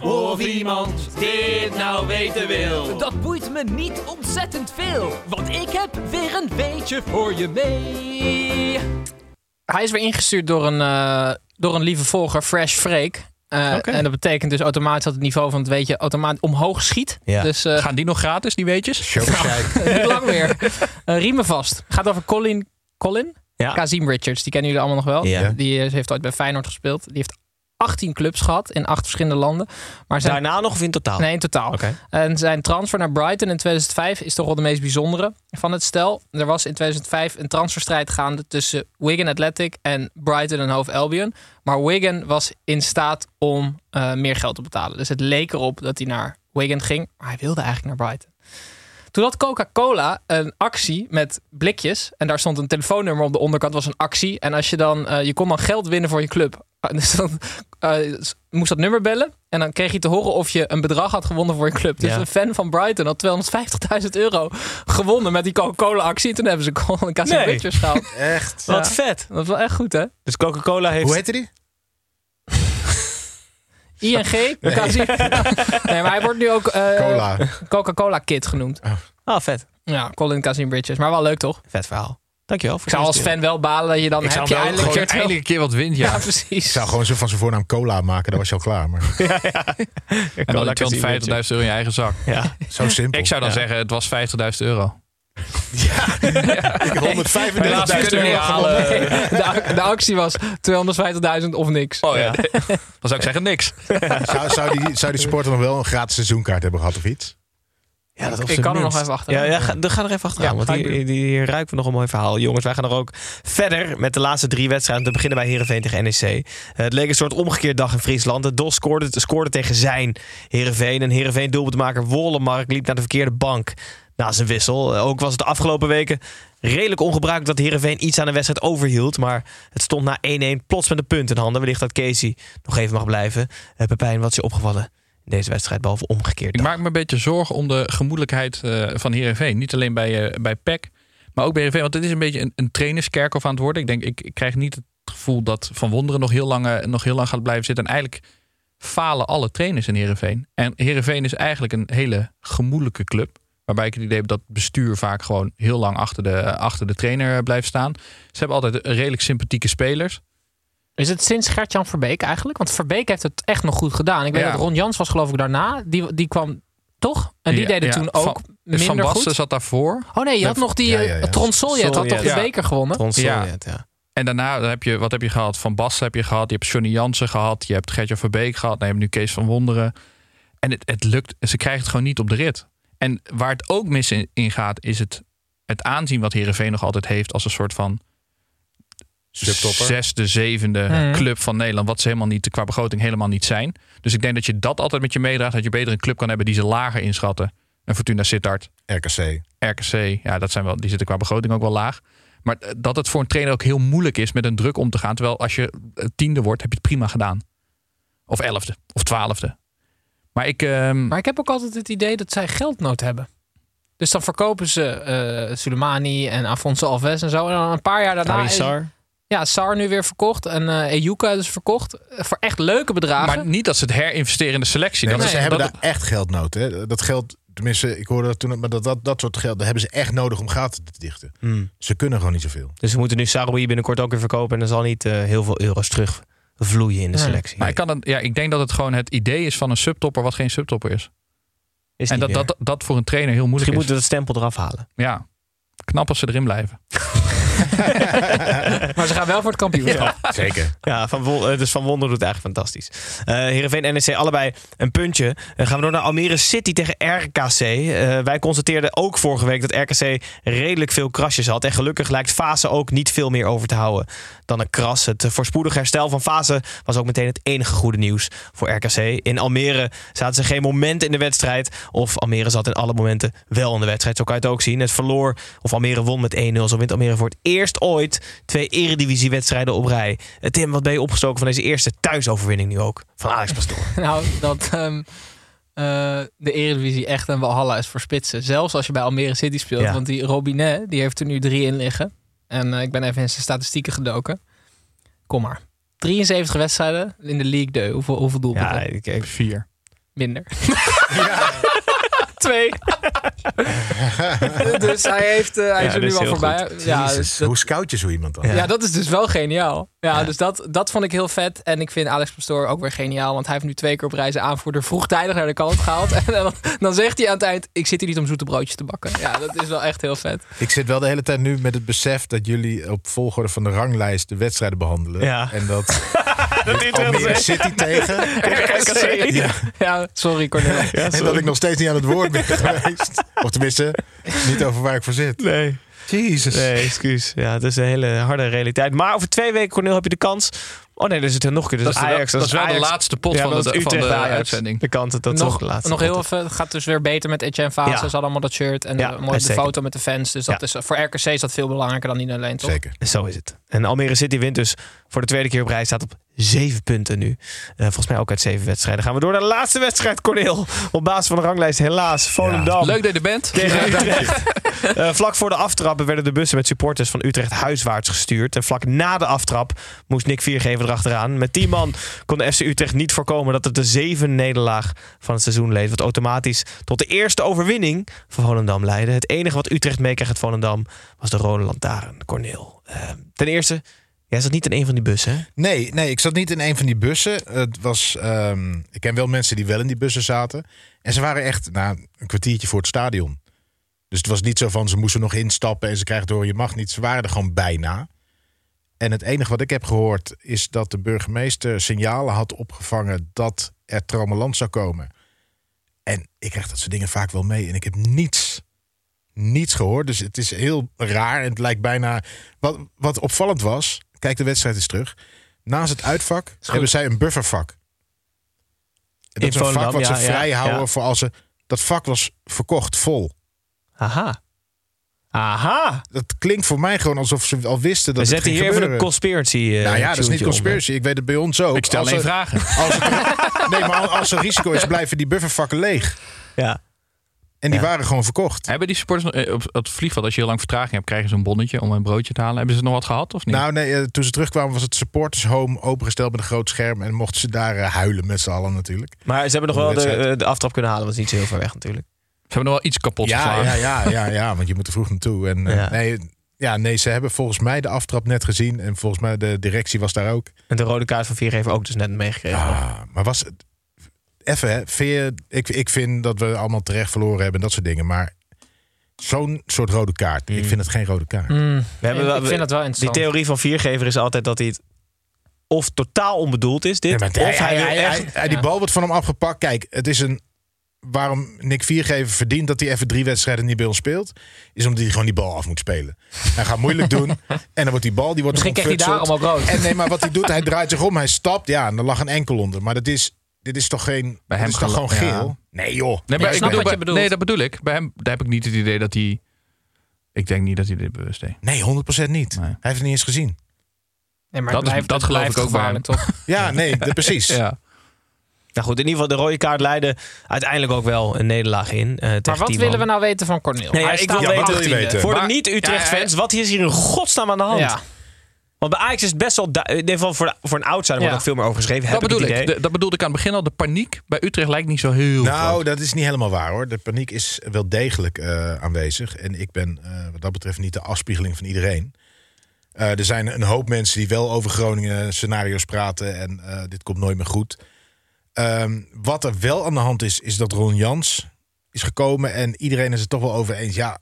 Of iemand dit nou weten wil.
Dat boeit me niet ontzettend veel, want ik heb weer een beetje voor je mee.
Hij is weer ingestuurd door een, eh, door een lieve volger, Fresh Freek. Eh,
Oké.
En dat betekent dus automatisch dat het niveau van het weetje automatisch omhoog schiet.
Ja.
Dus, eh,
Gaan die nog gratis, die weetjes?
Niet lang meer. Eh, riemen vast. Gaat over Colin. Colin?
Ja.
Ah.
Kazim Richards. Die kennen jullie allemaal nog wel.
Ja.
Die eh, heeft ooit bij Feyenoord gespeeld. Die heeft 18 clubs gehad in acht verschillende landen. Maar zijn...
Daarna nog of in totaal?
Nee, in totaal. En zijn transfer naar Brighton in 2005 is toch wel de meest bijzondere van het stel. Er was in 2005 een transferstrijd gaande tussen Wigan Athletic en Brighton en Hove Albion. Maar Wigan was in staat om eh, meer geld te betalen. Dus het leek erop dat hij naar Wigan ging. Maar hij wilde eigenlijk naar Brighton. Toen had Coca-Cola een actie met blikjes. En daar stond een telefoonnummer op de onderkant. was een actie. En als je dan, eh, je kon dan geld winnen voor je club. Dus dan eh, s- moest dat nummer bellen. En dan kreeg je te horen of je een bedrag had gewonnen voor je club. Dus
Ja.
een fan van Brighton had 250.000 euro gewonnen met die Coca-Cola-actie. Toen hebben ze Colin Cassie
Nee.
Richards gehaald.
Echt?
Wat vet.
Dat is wel echt goed, hè?
Dus Coca-Cola heeft...
Hoe heette die?
ING, Cassie. nee, maar hij wordt nu ook eh,
Cola.
Coca-Cola Kid genoemd.
Ah, vet.
Ja, Colin Cassie Richards. Maar wel leuk, toch?
Vet verhaal. Dankjewel.
Ik zou als fan wel balen dat je dan
Ik
heb
zou
je
hem wel
eindelijk
gewoon
een keer
Eindelijk een keer wat wint, ja.
Ja, precies.
Ik zou gewoon zo van zijn voornaam cola maken, dan was je al klaar. Maar
En dan
Cola Casino,
250.000 euro in je eigen zak.
Ja.
zo simpel.
Ik zou dan zeggen, het was 50.000 euro.
Ik 135.000
kunnen
euro
niet
gewonnen.
halen. De, de actie was 250.000 of niks.
Oh ja. Dan zou ik zeggen, niks.
Zou, zou, die, zou die supporter nog wel een gratis seizoenkaart hebben gehad of iets?
Ja, dat op
Ik
zijn
kan er
minst.
nog even
Ja,
achteraan.
ja ga, dan ga er even achteraan.
Ja,
want
ga ik
hier, hier, hier ruiken we nog een mooi verhaal. Jongens, wij gaan er ook verder met de laatste drie wedstrijden. Te beginnen bij Herenveen tegen NEC. Eh, Het leek een soort omgekeerd dag in Friesland. De DOS scoorde, scoorde tegen zijn Herenveen. En Herenveen doelpuntmaker Wollemark liep naar de verkeerde bank. Na zijn wissel. Eh, Ook was het de afgelopen weken redelijk ongebruikelijk dat Herenveen iets aan de wedstrijd overhield. Maar het stond na 1-1 plots met een punt in handen. Wellicht dat Casey nog even mag blijven. Eh, Pepijn, wat is je opgevallen in deze wedstrijd? Behalve omgekeerd.
Ik maak me een beetje zorgen om de gemoedelijkheid eh, van Heerenveen. Niet alleen bij, eh, bij PEC, maar ook bij Heerenveen. Want het is een beetje een, een trainerskerkhof aan het worden. Ik denk, ik, ik krijg niet het gevoel dat Van Wonderen nog heel, lang, eh, nog heel lang gaat blijven zitten. En eigenlijk falen alle trainers in Heerenveen. En Heerenveen is eigenlijk een hele gemoedelijke club. Waarbij ik het idee heb dat het bestuur vaak gewoon heel lang achter de, achter de trainer eh, blijft staan. Ze hebben altijd eh, redelijk sympathieke spelers.
Is het sinds Gert-Jan Verbeek eigenlijk? Want Verbeek heeft het echt nog goed gedaan. Ik weet
Ja.
dat Ron Jans was geloof ik daarna. Die, die kwam toch? En die
Ja,
deden
ja.
toen ook
Van- dus Van
minder
Basten
goed.
zat daarvoor.
Oh nee, je had
Nee,
nog die
ja,
eh,
ja, ja.
Trond Soljet had toch de
Soljet.
beker gewonnen?
Trons
Ja.
Soljet, ja.
En daarna dan heb je, wat heb je gehad? Van Basten heb je gehad, je hebt Johnny Jansen gehad, je hebt Gertje Verbeek gehad, nou, je hebt nu Kees van Wonderen. En het, het lukt, ze krijgen het gewoon niet op de rit. En waar het ook mis in, in gaat, is het, het aanzien wat Herenveen nog altijd heeft als een soort van
Subtopper.
zesde, zevende
Mhm.
club van Nederland, wat ze helemaal niet qua begroting helemaal niet zijn. Dus ik denk dat je dat altijd met je meedraagt, dat je beter een club kan hebben die ze lager inschatten. Een Fortuna Sittard,
RKC.
RKC, ja, dat zijn wel, die zitten qua begroting ook wel laag. Maar eh, dat het voor een trainer ook heel moeilijk is met een druk om te gaan. Terwijl als je eh, tiende wordt, heb je het prima gedaan. Of elfde, of twaalfde. Maar ik, ehm,
Maar ik heb ook altijd het idee dat zij geldnood hebben. Dus dan verkopen ze eh Soleimani en Afonso Alves en zo. Ah, En dan een paar jaar daarna...
Arie
is-
Sar.
Ja, Sar nu weer verkocht. En eh Ejuka is verkocht. Eh, Voor echt leuke bedragen.
maar niet dat ze het herinvesteren in de selectie.
Nee,
dat
maar
is,
ze hebben
dat-
daar echt geldnood. Hè? Dat geld, tenminste, ik hoorde dat toen, maar dat, dat, dat soort geld, daar hebben ze echt nodig om gaten te dichten.
Hmm.
Ze kunnen gewoon niet zoveel.
Dus we moeten nu Saroui binnenkort ook weer verkopen. En er zal niet eh, heel veel euro's terugvloeien in de
Nee.
selectie.
Maar ik, kan dan, ja, ik denk dat het gewoon het idee is van een subtopper wat geen subtopper is.
Is
en
niet
dat,
meer.
dat, dat voor een trainer heel moeilijk
Misschien moeten we
is.
dat stempel eraf halen.
Ja, knap als ze erin blijven.
Maar ze gaan wel voor het kampioenschap.
Oh, Zeker.
Ja, van Won- eh, dus Van Wonder doet het eigenlijk fantastisch. Eh Heerenveen en NEC allebei een puntje. Eh, gaan we door naar Almere City tegen RKC. Eh, wij constateerden ook vorige week dat RKC redelijk veel krasjes had. En gelukkig lijkt Fase ook niet veel meer over te houden dan een kras. Het eh, voorspoedig herstel van Fase was ook meteen het enige goede nieuws voor RKC. In Almere zaten ze geen moment in de wedstrijd. Of Almere zat in alle momenten wel in de wedstrijd. Zo kan je het ook zien. Het verloor of Almere won met 1-0. Zo wint Almere voor het eerst ooit twee eredivisiewedstrijden op rij. Eh, Tim, wat ben je opgestoken van deze eerste thuisoverwinning nu ook? Van Alex Pastoor.
Nou, dat ehm, eh, de Eredivisie echt een walhalla is voor spitsen. Zelfs als je bij Almere City speelt.
Ja.
Want die Robinet, die heeft er nu drie in liggen. En eh, ik ben even in zijn statistieken gedoken. Kom maar. 73 wedstrijden in de League 2. Hoeveel, hoeveel doelpunten?
ik, ik-
Vier.
Minder. twee. dus hij, heeft, eh, hij is er nu al voorbij. Ja, dus
Jezus, Hoe scout je zo iemand dan?
Ja. dat is dus wel geniaal. Ja, dus dat, dat vond ik heel vet. En ik vind Alex Pastoor ook weer geniaal. Want hij heeft nu twee keer op reis een aanvoerder vroegtijdig naar de kant gehaald. en dan, dan zegt hij aan het eind, ik zit hier niet om zoete broodjes te bakken. Ja, dat is wel echt heel vet.
Ik zit wel de hele tijd nu met het besef dat jullie op volgorde van de ranglijst de wedstrijden behandelen.
Ja.
En dat
Dat is
Almere City tegen...
RKC.
Ja.
Ja, sorry Cornel.
En dat ik nog steeds niet aan het woord ben geweest. Of tenminste, niet over waar ik voor zit.
Nee.
Jezus.
Nee, excuus. Ja, het is een hele harde realiteit. Maar over twee weken, Cornel, heb je de kans. Oh nee, er zit er nog een keer. Dus
Dat is de-
Ajax.
dat is wel de
Ajax.
laatste pot
Ja,
van
dat
de-
is
van de
Utrecht Ajax.
uitzending.
De kant dat dat toch
nog,
de laatste
nog
pot
heel even, het gaat dus weer beter met Etienne Fase.
Ja.
Ze hadden allemaal dat shirt en
Ja,
de, mooi de
uitstekend.
foto met de fans. Dus dat is, voor RKC is dat veel belangrijker dan niet alleen, toch?
Zeker.
Zo is het. En Almere City wint dus voor de tweede keer op rij. Staat op zeven punten nu. Eh, volgens mij ook uit zeven wedstrijden. Gaan we door naar de laatste wedstrijd, Corneel. Op basis van de ranglijst helaas. Volendam.
Leuk dat je er bent.
Tegen Utrecht. Eh, vlak voor de aftrappen werden de bussen met supporters van Utrecht huiswaarts gestuurd. En vlak na de aftrap moest Nick Viergever erachteraan. Met die man kon de FC Utrecht niet voorkomen dat het de zeven nederlaag van het seizoen leed. Wat automatisch tot de eerste overwinning van Volendam leidde. Het enige wat Utrecht meekreeg uit Volendam was de rode lantaarn, Corneel. Eh, ten eerste, jij zat niet in een van die bussen, hè?
Nee, nee, ik zat niet in een van die bussen. Het was, ehm, ik ken wel mensen die wel in die bussen zaten. En ze waren echt nou, een kwartiertje voor het stadion. Dus het was niet zo van ze moesten nog instappen en ze krijgen door je mag niet. Ze waren er gewoon bijna. En het enige wat ik heb gehoord is dat de burgemeester signalen had opgevangen dat er trammeland zou komen. En ik krijg dat soort dingen vaak wel mee. En ik heb niets, niets gehoord. Dus het is heel raar. En het lijkt bijna. Wat, wat opvallend was. Kijk, de wedstrijd is terug. Naast het uitvak hebben zij een buffervak. En
In
dat is een vak
Volendam,
wat ze
ja, ja,
vrij houden
ja.
voor als ze. Dat vak was verkocht vol.
Aha. Aha.
Dat klinkt voor mij gewoon alsof ze al wisten
We
dat.
zetten
het
hier
ging
even een
gebeuren.
conspiracy eh,
Nou ja, dat is niet
tuentje onder.
conspiracy. Ik weet het bij ons ook.
Ik stel
Als
alleen
er-
vragen.
Als er- nee, maar als er risico is, blijven die buffervakken leeg.
Ja.
En die
Ja.
waren gewoon verkocht.
Hebben die supporters nog- eh, op het vliegveld, als je heel lang vertraging hebt, krijgen ze een bonnetje om een broodje te halen. Hebben ze nog wat gehad of niet?
Nou nee, eh, toen ze terugkwamen was het supporters home opengesteld met een groot scherm. En mochten ze daar eh, huilen met z'n allen natuurlijk.
Maar ze hebben nog
Om
wel
de
de,
wedstrijd.
eh, de aftrap kunnen halen. want het is niet zo heel ver weg natuurlijk.
Ze hebben nog wel iets kapot
Ja,
geslagen.
ja, ja, ja, ja, want je moet er vroeg naartoe. En, eh,
Ja.
Nee, ja, nee, ze hebben volgens mij de aftrap net gezien. En volgens mij de directie was daar ook.
En de rode kaart van Viergever ook dus net meegekregen.
Ah, maar was het... Even, hè, vind je- ik, ik vind dat we allemaal terecht verloren hebben en dat soort dingen. Maar zo'n soort rode kaart, ik vind het geen rode kaart.
We hebben
Ik-
wel-
ik vind dat wel interessant.
Die theorie van viergever is altijd dat hij het of totaal onbedoeld is, dit.
Ja, maar
of hij, wil echt...
hij- hij- die bal wordt van hem afgepakt. Kijk, het is een. Waarom Nick Viergever verdient dat hij even drie wedstrijden niet bij ons speelt, is omdat hij gewoon die bal af moet spelen. Hij gaat moeilijk doen en dan wordt die bal die wordt
Misschien krijgt hij
ontfutseld.
daarom al rood.
En nee, maar wat hij doet, hij draait zich om, hij stapt, ja, en er lag een enkel onder. Maar dat is, dit is toch geen,
Bij hem
dit is toch gewoon
gelo- ja.
geel? Nee joh.
Nee,
maar
maar
ik
ik
snap wat je
bedoel, bij-
bedoelt.
nee, dat bedoel ik. Bij hem daar heb ik niet het idee dat hij... Ik denk niet dat hij dit bewust deed.
Nee, 100% niet.
Nee.
Hij heeft het niet eens gezien.
Nee, maar
Dat
het
is-
blijft,
dat
het
geloof
blijft
ik ook wel.
gevaarlijk, toch?
Ja, nee, dat- precies.
Ja.
Nou goed, in ieder geval de rode kaart leidde uiteindelijk ook wel een nederlaag in. eh, tegen
Maar wat
die
willen
man.
we nou weten van Cornel?
Nee, ja,
Hij
ik
staat
wil
op
weten-
18e.
Wil je weten?
Voor de
Maar-
niet-Utrecht-fans, wat is hier in godsnaam aan de hand?
Ja.
Want bij Ajax is het best wel... du- In ieder geval voor, de- voor een outsider
Ja.
wordt ook veel meer over geschreven.
Dat
heb
bedoel
ik.
ik.
het idee.
De- dat bedoelde ik aan het begin al. De paniek bij Utrecht lijkt niet zo heel
Nou,
groot.
dat is niet helemaal waar hoor. De paniek is wel degelijk eh, aanwezig. En ik ben eh, wat dat betreft niet de afspiegeling van iedereen. Eh, er zijn een hoop mensen die wel over Groningen scenario's praten. En eh, dit komt nooit meer goed. Ehm, wat er wel aan de hand is, is dat Ron Jans is gekomen. En iedereen is het toch wel over eens. Ja,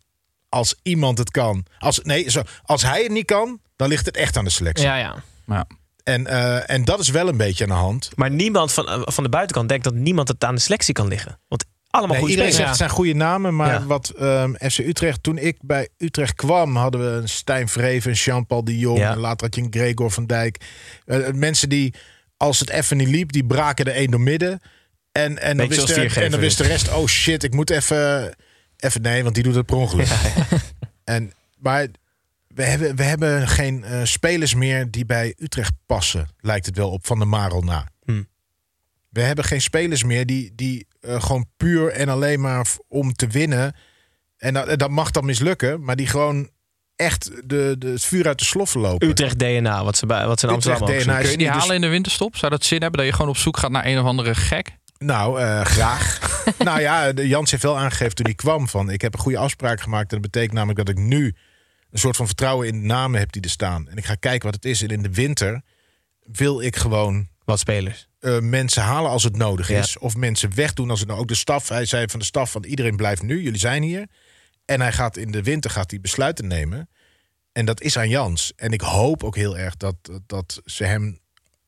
als iemand het kan. Als, nee, zo, als hij het niet kan, dan ligt het echt aan de selectie.
Ja, ja.
Maar
En, eh, en dat is wel een beetje aan de hand.
Maar niemand van, eh, van de buitenkant denkt dat niemand het aan de selectie kan liggen. Want allemaal
Nee,
goede
iedereen
spelers.
zegt het zijn goede namen, maar
Ja.
wat ehm, FC Utrecht... Toen ik bij Utrecht kwam, hadden we een Stijn Vreven, een Jean-Paul de Jong...
Ja.
en later had je een Gregor van Dijk. Eh, mensen die, als het even niet liep, die braken er één door midden. En,
Beetje
en, dan, wist
zoals
de,
Viergever
en dan wist de
dus.
rest, oh shit, ik moet even... Even nee, want die doet het per ongeluk. En, maar we hebben, we hebben geen eh, spelers meer die bij Utrecht passen, lijkt het wel op Van de Marel na.
Hmm.
We hebben geen spelers meer die, die eh, gewoon puur en alleen maar f- om te winnen. En dat, dat mag dan mislukken, maar die gewoon echt de, de, het vuur uit de sloffen lopen.
Utrecht DNA, wat ze, bij, wat ze in
Utrecht
Amsterdam ook
DNA
zoeken.
is
kun je die
niet
halen in de winterstop? Zou dat zin hebben dat je gewoon op zoek gaat naar een of andere gek?
dus- Nou, eh, graag. nou ja, de- Jans heeft wel aangegeven toen hij kwam van... ik heb een goede afspraak gemaakt. En dat betekent namelijk dat ik nu een soort van vertrouwen in de namen heb die er staan. En ik ga kijken wat het is. En in de winter wil ik gewoon...
Wat spelers?
eh, mensen halen als het nodig
Ja.
is. Of mensen wegdoen als het nou ook de staf... Hij zei van de staf van iedereen blijft nu, jullie zijn hier. En hij gaat in de winter gaat hij besluiten nemen. En dat is aan Jans. En ik hoop ook heel erg dat, dat ze hem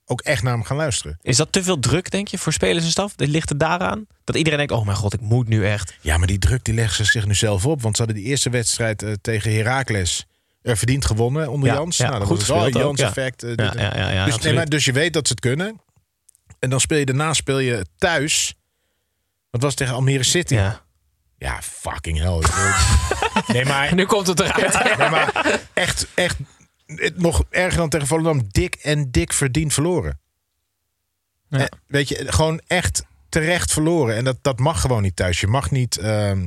ook echt naar hem gaan luisteren.
Is dat te veel druk, denk je, voor spelers en staf? Dit ligt het daaraan? Dat iedereen denkt, oh mijn god, ik moet nu echt.
Ja, maar die druk die leggen ze zich nu zelf op. Want ze hadden die eerste wedstrijd eh, tegen Heracles eh, verdiend gewonnen onder
Ja,
Jans.
ja,
nou, dan
goed
was het, oh,
gespeeld ook,
Jans
ja.
effect. eh,
Ja,
dit en-
ja, ja, ja,
dus,
absoluut.
maar, dus je weet dat ze het kunnen. En dan speel je daarna speel je thuis. Wat was het tegen Almere City?
Ja.
Ja, fucking hell. ik bedoel- nee, maar...
Nu komt het eruit.
Nee, maar echt, echt het, nog erger dan tegen Volendam. Dik en dik verdiend verloren. Eh, weet je, gewoon echt terecht verloren. En dat, dat mag gewoon niet thuis. Je mag niet... ehm,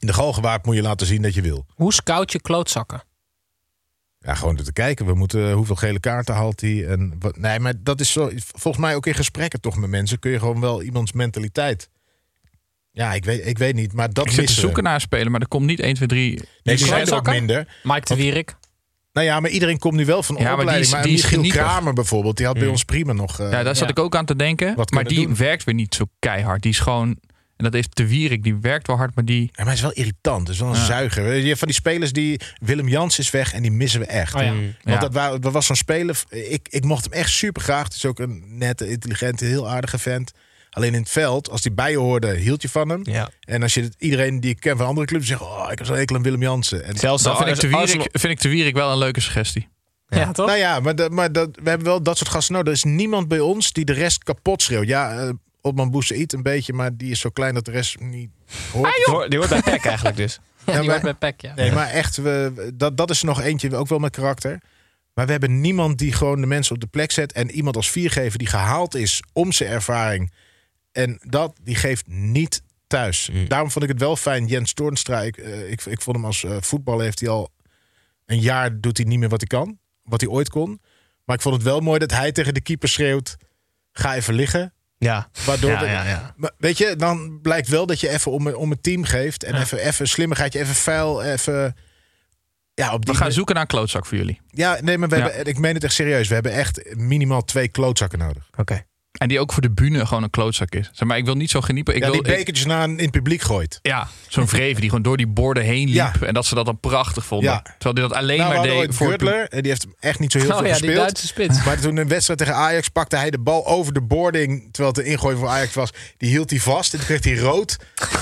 in de galgenwaard moet je laten zien dat je wil.
Hoe scout je klootzakken?
Ja, gewoon door te kijken. We moeten, eh, hoeveel gele kaarten haalt hij? En wat, nee, maar dat is zo, volgens mij ook in gesprekken toch met mensen... kun je gewoon wel iemands mentaliteit... Ja, ik weet, ik weet niet, maar dat
ik zit te
missen we.
zoeken naar een speler, maar er komt niet 1, 2, 3...
Nee, die zijn er ook minder.
Mike de Wierik.
Nou ja, maar iedereen komt nu wel van
Ja, maar die
opleiding.
is-
maar
die is
Michiel
genietig.
Kramer bijvoorbeeld, die had bij
Mm.
ons prima nog... eh,
ja, daar zat ik ook aan te denken.
Wat
maar
kunnen
die
doen.
werkt weer niet zo keihard. Die is gewoon... En dat is de Wierik, die werkt wel hard, maar die...
Ja, maar hij is wel irritant. Het is wel een
Ja.
zuiger. Weet Je hebt van die spelers die... Willem Jans is weg en die missen we echt.
Oh ja.
Want
Mm. Ja.
dat, wa- dat was zo'n speler... Ik, ik mocht hem echt super graag. Het is ook een nette, intelligente, heel aardige vent. Alleen in het veld, als die bij je hoorde, hield je van hem.
Ja.
En als je het- iedereen die ik ken van andere clubs zegt... Oh, ik heb zo'n hekel aan Willem Jansen. En
Zelfs
Dan
al-
vind ik, de
als- Ah,
Wierik, vind ik de Wierik wel een leuke suggestie.
Ja, toch?
Nou ja, maar, dat, maar dat, we hebben wel dat soort gasten nodig. Er is niemand bij ons die de rest kapot schreeuwt. Ja, eh Otman Boussaïd een beetje, maar die is zo klein dat de rest niet hoort.
Die hoort- Die hoort bij PEC eigenlijk dus.
Ja,
Ja,
die
maar-
hoort bij Peck, ja.
Nee, maar echt, we, we- dat, dat is er nog eentje, ook wel met karakter. Maar we hebben niemand die gewoon de mensen op de plek zet. En iemand als viergever die gehaald is om zijn ervaring. En dat, die geeft niet thuis. Daarom vond ik het wel fijn, Jens Toornstra. Ik, eh, ik, ik vond hem als eh, voetballer heeft hij al een jaar doet hij niet meer wat hij kan. Wat hij ooit kon. Maar ik vond het wel mooi dat hij tegen de keeper schreeuwt. Ga even liggen.
Ja.
Waardoor
Ja,
de-
ja, ja.
Maar weet je, dan blijkt wel dat je even om, om het team geeft. En even, even slimmigheidje, even vuil, even... Ja, op
We
die
gaan zoeken naar een klootzak voor jullie.
Ja, nee, maar we
Ja.
Hebben, ik meen het echt serieus. We hebben echt minimaal twee klootzakken nodig.
Oké.
En die ook voor de bühne gewoon een klootzak is. Zeg maar ik wil niet zo geniepen. Ik
ja,
wil,
die
ik-
bekertjes na in het publiek gooit.
ja, zo'n vreven die gewoon door die borden heen liep. En dat ze dat dan prachtig vonden.
Ja.
Terwijl die dat alleen
nou, we
maar
hadden
deed
ooit
voor... het
Gürtler, en die heeft echt niet zo heel
Oh
veel
ja, die
gespeeld.
Duitse spits.
Maar toen een wedstrijd tegen Ajax pakte hij de bal over de boarding, terwijl het een ingooi voor Ajax was. Die hield hij vast en toen kreeg hij rood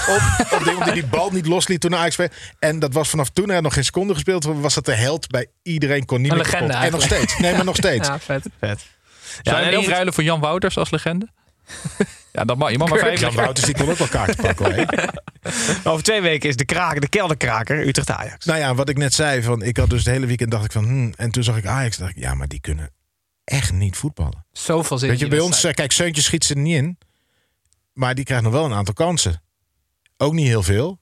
op, op ding, omdat hij die bal niet losliet toen Ajax speelde. En dat was vanaf toen, er had nog geen seconde gespeeld, was dat de held bij iedereen, kon niet
Een
meer
legende
kapot. En nog
eigenlijk.
steeds, nee maar nog steeds.
Ja, vet.
Vet. Ja,
Zou je
nee,
hem
over-
inruilen voor Jan Wouters als legende? ja, dat mag. Je mag maar
Kurt
vijf
Jan Wouters die kon ook wel kaarten pakken hoor. hè?
Over twee weken is de, kraak, de kelderkraker Utrecht-Ajax.
Nou ja, wat ik net zei, van, ik had dus het hele weekend dacht ik van, hmm, en toen zag ik Ajax, dacht ik, ja maar die kunnen echt niet voetballen.
Zoveel zin
Weet je,
in
bij
die
ons,
wedstrijd.
eh, kijk, Seuntje schiet ze er niet in. Maar die krijgt nog wel een aantal kansen. Ook niet heel veel.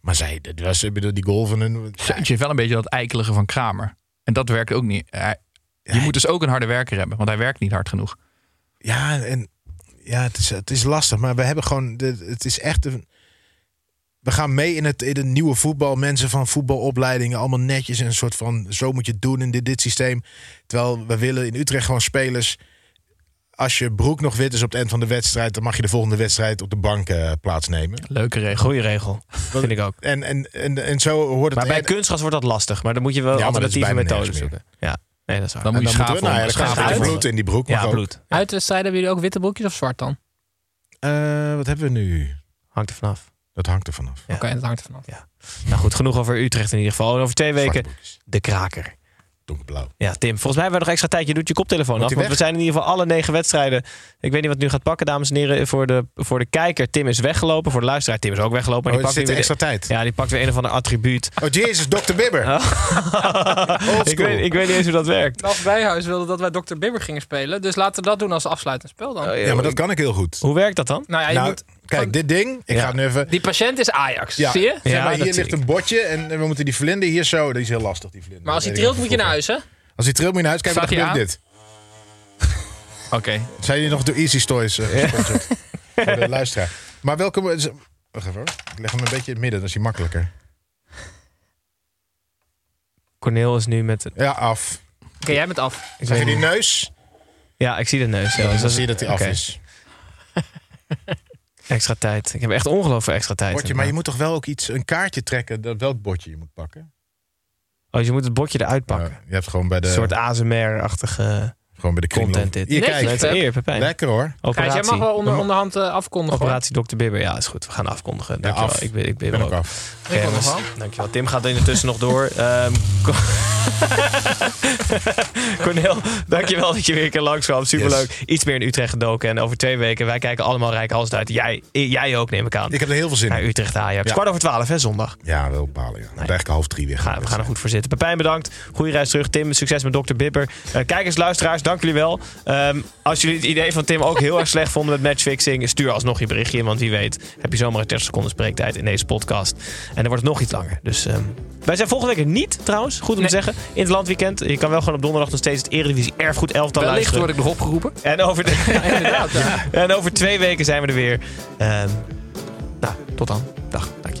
Maar zij, dat was, ik bedoel, die goal van hun.
Seuntje heeft wel een beetje dat eikelige van Kramer. En dat werkt ook niet. Hij- je moet dus ook een harde werker hebben, want hij werkt niet hard genoeg.
Ja, en, ja het, is, het is lastig. Maar we hebben gewoon. De, het is echt. Een, we gaan mee in het, in het nieuwe voetbal. Mensen van voetbalopleidingen. Allemaal netjes. En een soort van. Zo moet je het doen in dit, dit systeem. Terwijl we willen in Utrecht gewoon spelers. Als je broek nog wit is op het eind van de wedstrijd. dan mag je de volgende wedstrijd op de bank eh, plaatsnemen.
Leuke regel.
Goeie regel, vind ik ook.
En, en, en, en zo hoort het.
Maar bij
en-
kunstgras wordt dat lastig. Maar dan moet je wel
Ja, maar dat is
alternatieve
bijna
methoden
nergens meer.
zoeken. Ja, nee, dat is waar.
Dan moet je
En
schaven.
moeten we- nou ja,
onder-
dan
schaven
gaat er
onder.
bloed in die broek. mag
Ja,
ook.
bloed.
Uitwedstrijden hebben jullie ook witte broekjes of zwart dan?
Eh, wat hebben we nu?
Hangt er vanaf.
Dat hangt er vanaf.
Ja.
Oké, dat hangt er vanaf.
Nou goed, genoeg over Utrecht in ieder geval. En over twee weken de kraker.
Donkerblauw.
Ja, Tim, volgens mij hebben we nog extra tijd. Je doet je koptelefoon
Moet
af.
die
Want we
weg?
zijn in ieder geval alle negen wedstrijden. Ik weet niet wat nu gaat pakken, dames en heren. Voor de, voor de kijker, Tim is weggelopen. Voor de luisteraar, Tim is ook weggelopen. Maar
Oh,
die
er
pakt
zit
weer
extra tijd.
Ja, die pakt weer een of ander attribuut.
Oh, jezus, Dr. Bibber. Ah,
ik, weet, ik weet niet eens hoe dat werkt.
Naf Bijhuis wilde dat wij Dr. Bibber gingen spelen. Dus laten we dat doen als afsluitend spel dan.
Oh, Ja, maar dat kan ik heel goed.
Hoe werkt dat dan?
Nou ja, je
Nou,
moet,
kijk, dit ding. Ik
Ja.
ga het nu even...
die patiënt is Ajax,
Ja.
zie je?
Zeg
Ja,
maar,
dat
hier
zie
ligt
ik.
een botje en we moeten die vlinder hier zo... Die is heel lastig, die vlinder.
Maar als
Dat
hij
weet ik
trilt
nog
moet je naar huis,
van
hè?
vroeger. Als hij trilt moet je naar huis. Kijk, wat
Staat hij
gebeurt dit.
Oké.
Zijn jullie nog door Easy Toys eh, gesponsord? Voor de luisteraar. Maar welke... Wacht even hoor. Ik leg hem een beetje in het midden, dan is hij makkelijker.
Corneel is nu met...
Ja, af.
Oké, jij bent af.
Zeg je die neus?
Ja, ik zie de neus. Ja,
Ja,
dus
dan
dat-
zie je dat hij af
oké.
is.
Extra tijd. Ik heb echt ongeloof voor extra tijd.
Bordje, maar je moet toch wel ook iets, een kaartje trekken dat, welk bordje je moet pakken?
Oh, dus je moet het bordje eruit pakken.
Je hebt gewoon bij de...
Een soort ASMR-achtige
gewoon bij de kringloop.
content dit.
Hier, kijk.
Met eer, Pepijn.
Lekker hoor.
Gijs,
Oh,
jij
Operatie.
mag wel onder, onderhand eh, afkondigen. hoor.
Operatie Dr. Bibber. Ja, is goed. We gaan afkondigen. Dankjewel.
af.
Ik ben, ik ben,
Ik ben
er
ook af.
Oké,
Ik ook nog
jongens. Dankjewel. Tim gaat er intussen nog door. Ehm, Co- Cornel, dankjewel dat je weer een keer langskwam. Superleuk. Iets meer in Utrecht gedoken. En over twee weken, wij kijken allemaal Rijkenhalsd uit. Jij, jij ook, neem ik aan.
Ik heb er heel veel zin
Naar
in.
Utrecht Ajax.
Ja.
Kwart over twaalf, hè, zondag.
Ja, wel balen. Ja. Want Eigenlijk half drie weer.
Ga- we gaan er goed voor zitten. Pepijn bedankt. Goeie reis terug. Tim, succes met Dr. Bibber. Eh, kijkers, luisteraars, dank jullie wel. Ehm, als jullie het idee van Tim ook heel erg slecht vonden met matchfixing... stuur alsnog je berichtje in, want wie weet... heb je zomaar een 30 seconden spreektijd in deze podcast. En dan wordt het nog iets langer. Dus ehm, wij zijn volgende week er niet, trouwens. Goed om te zeggen. In het landweekend. Je kan wel gewoon op donderdag nog steeds het Eredivisie Erfgoed Elftal
Wellicht
luisteren.
word ik nog opgeroepen.
En over, de-
Inderdaad. ja.
en over twee weken zijn we er weer. Ehm, nou, tot dan. Dag. Dank je.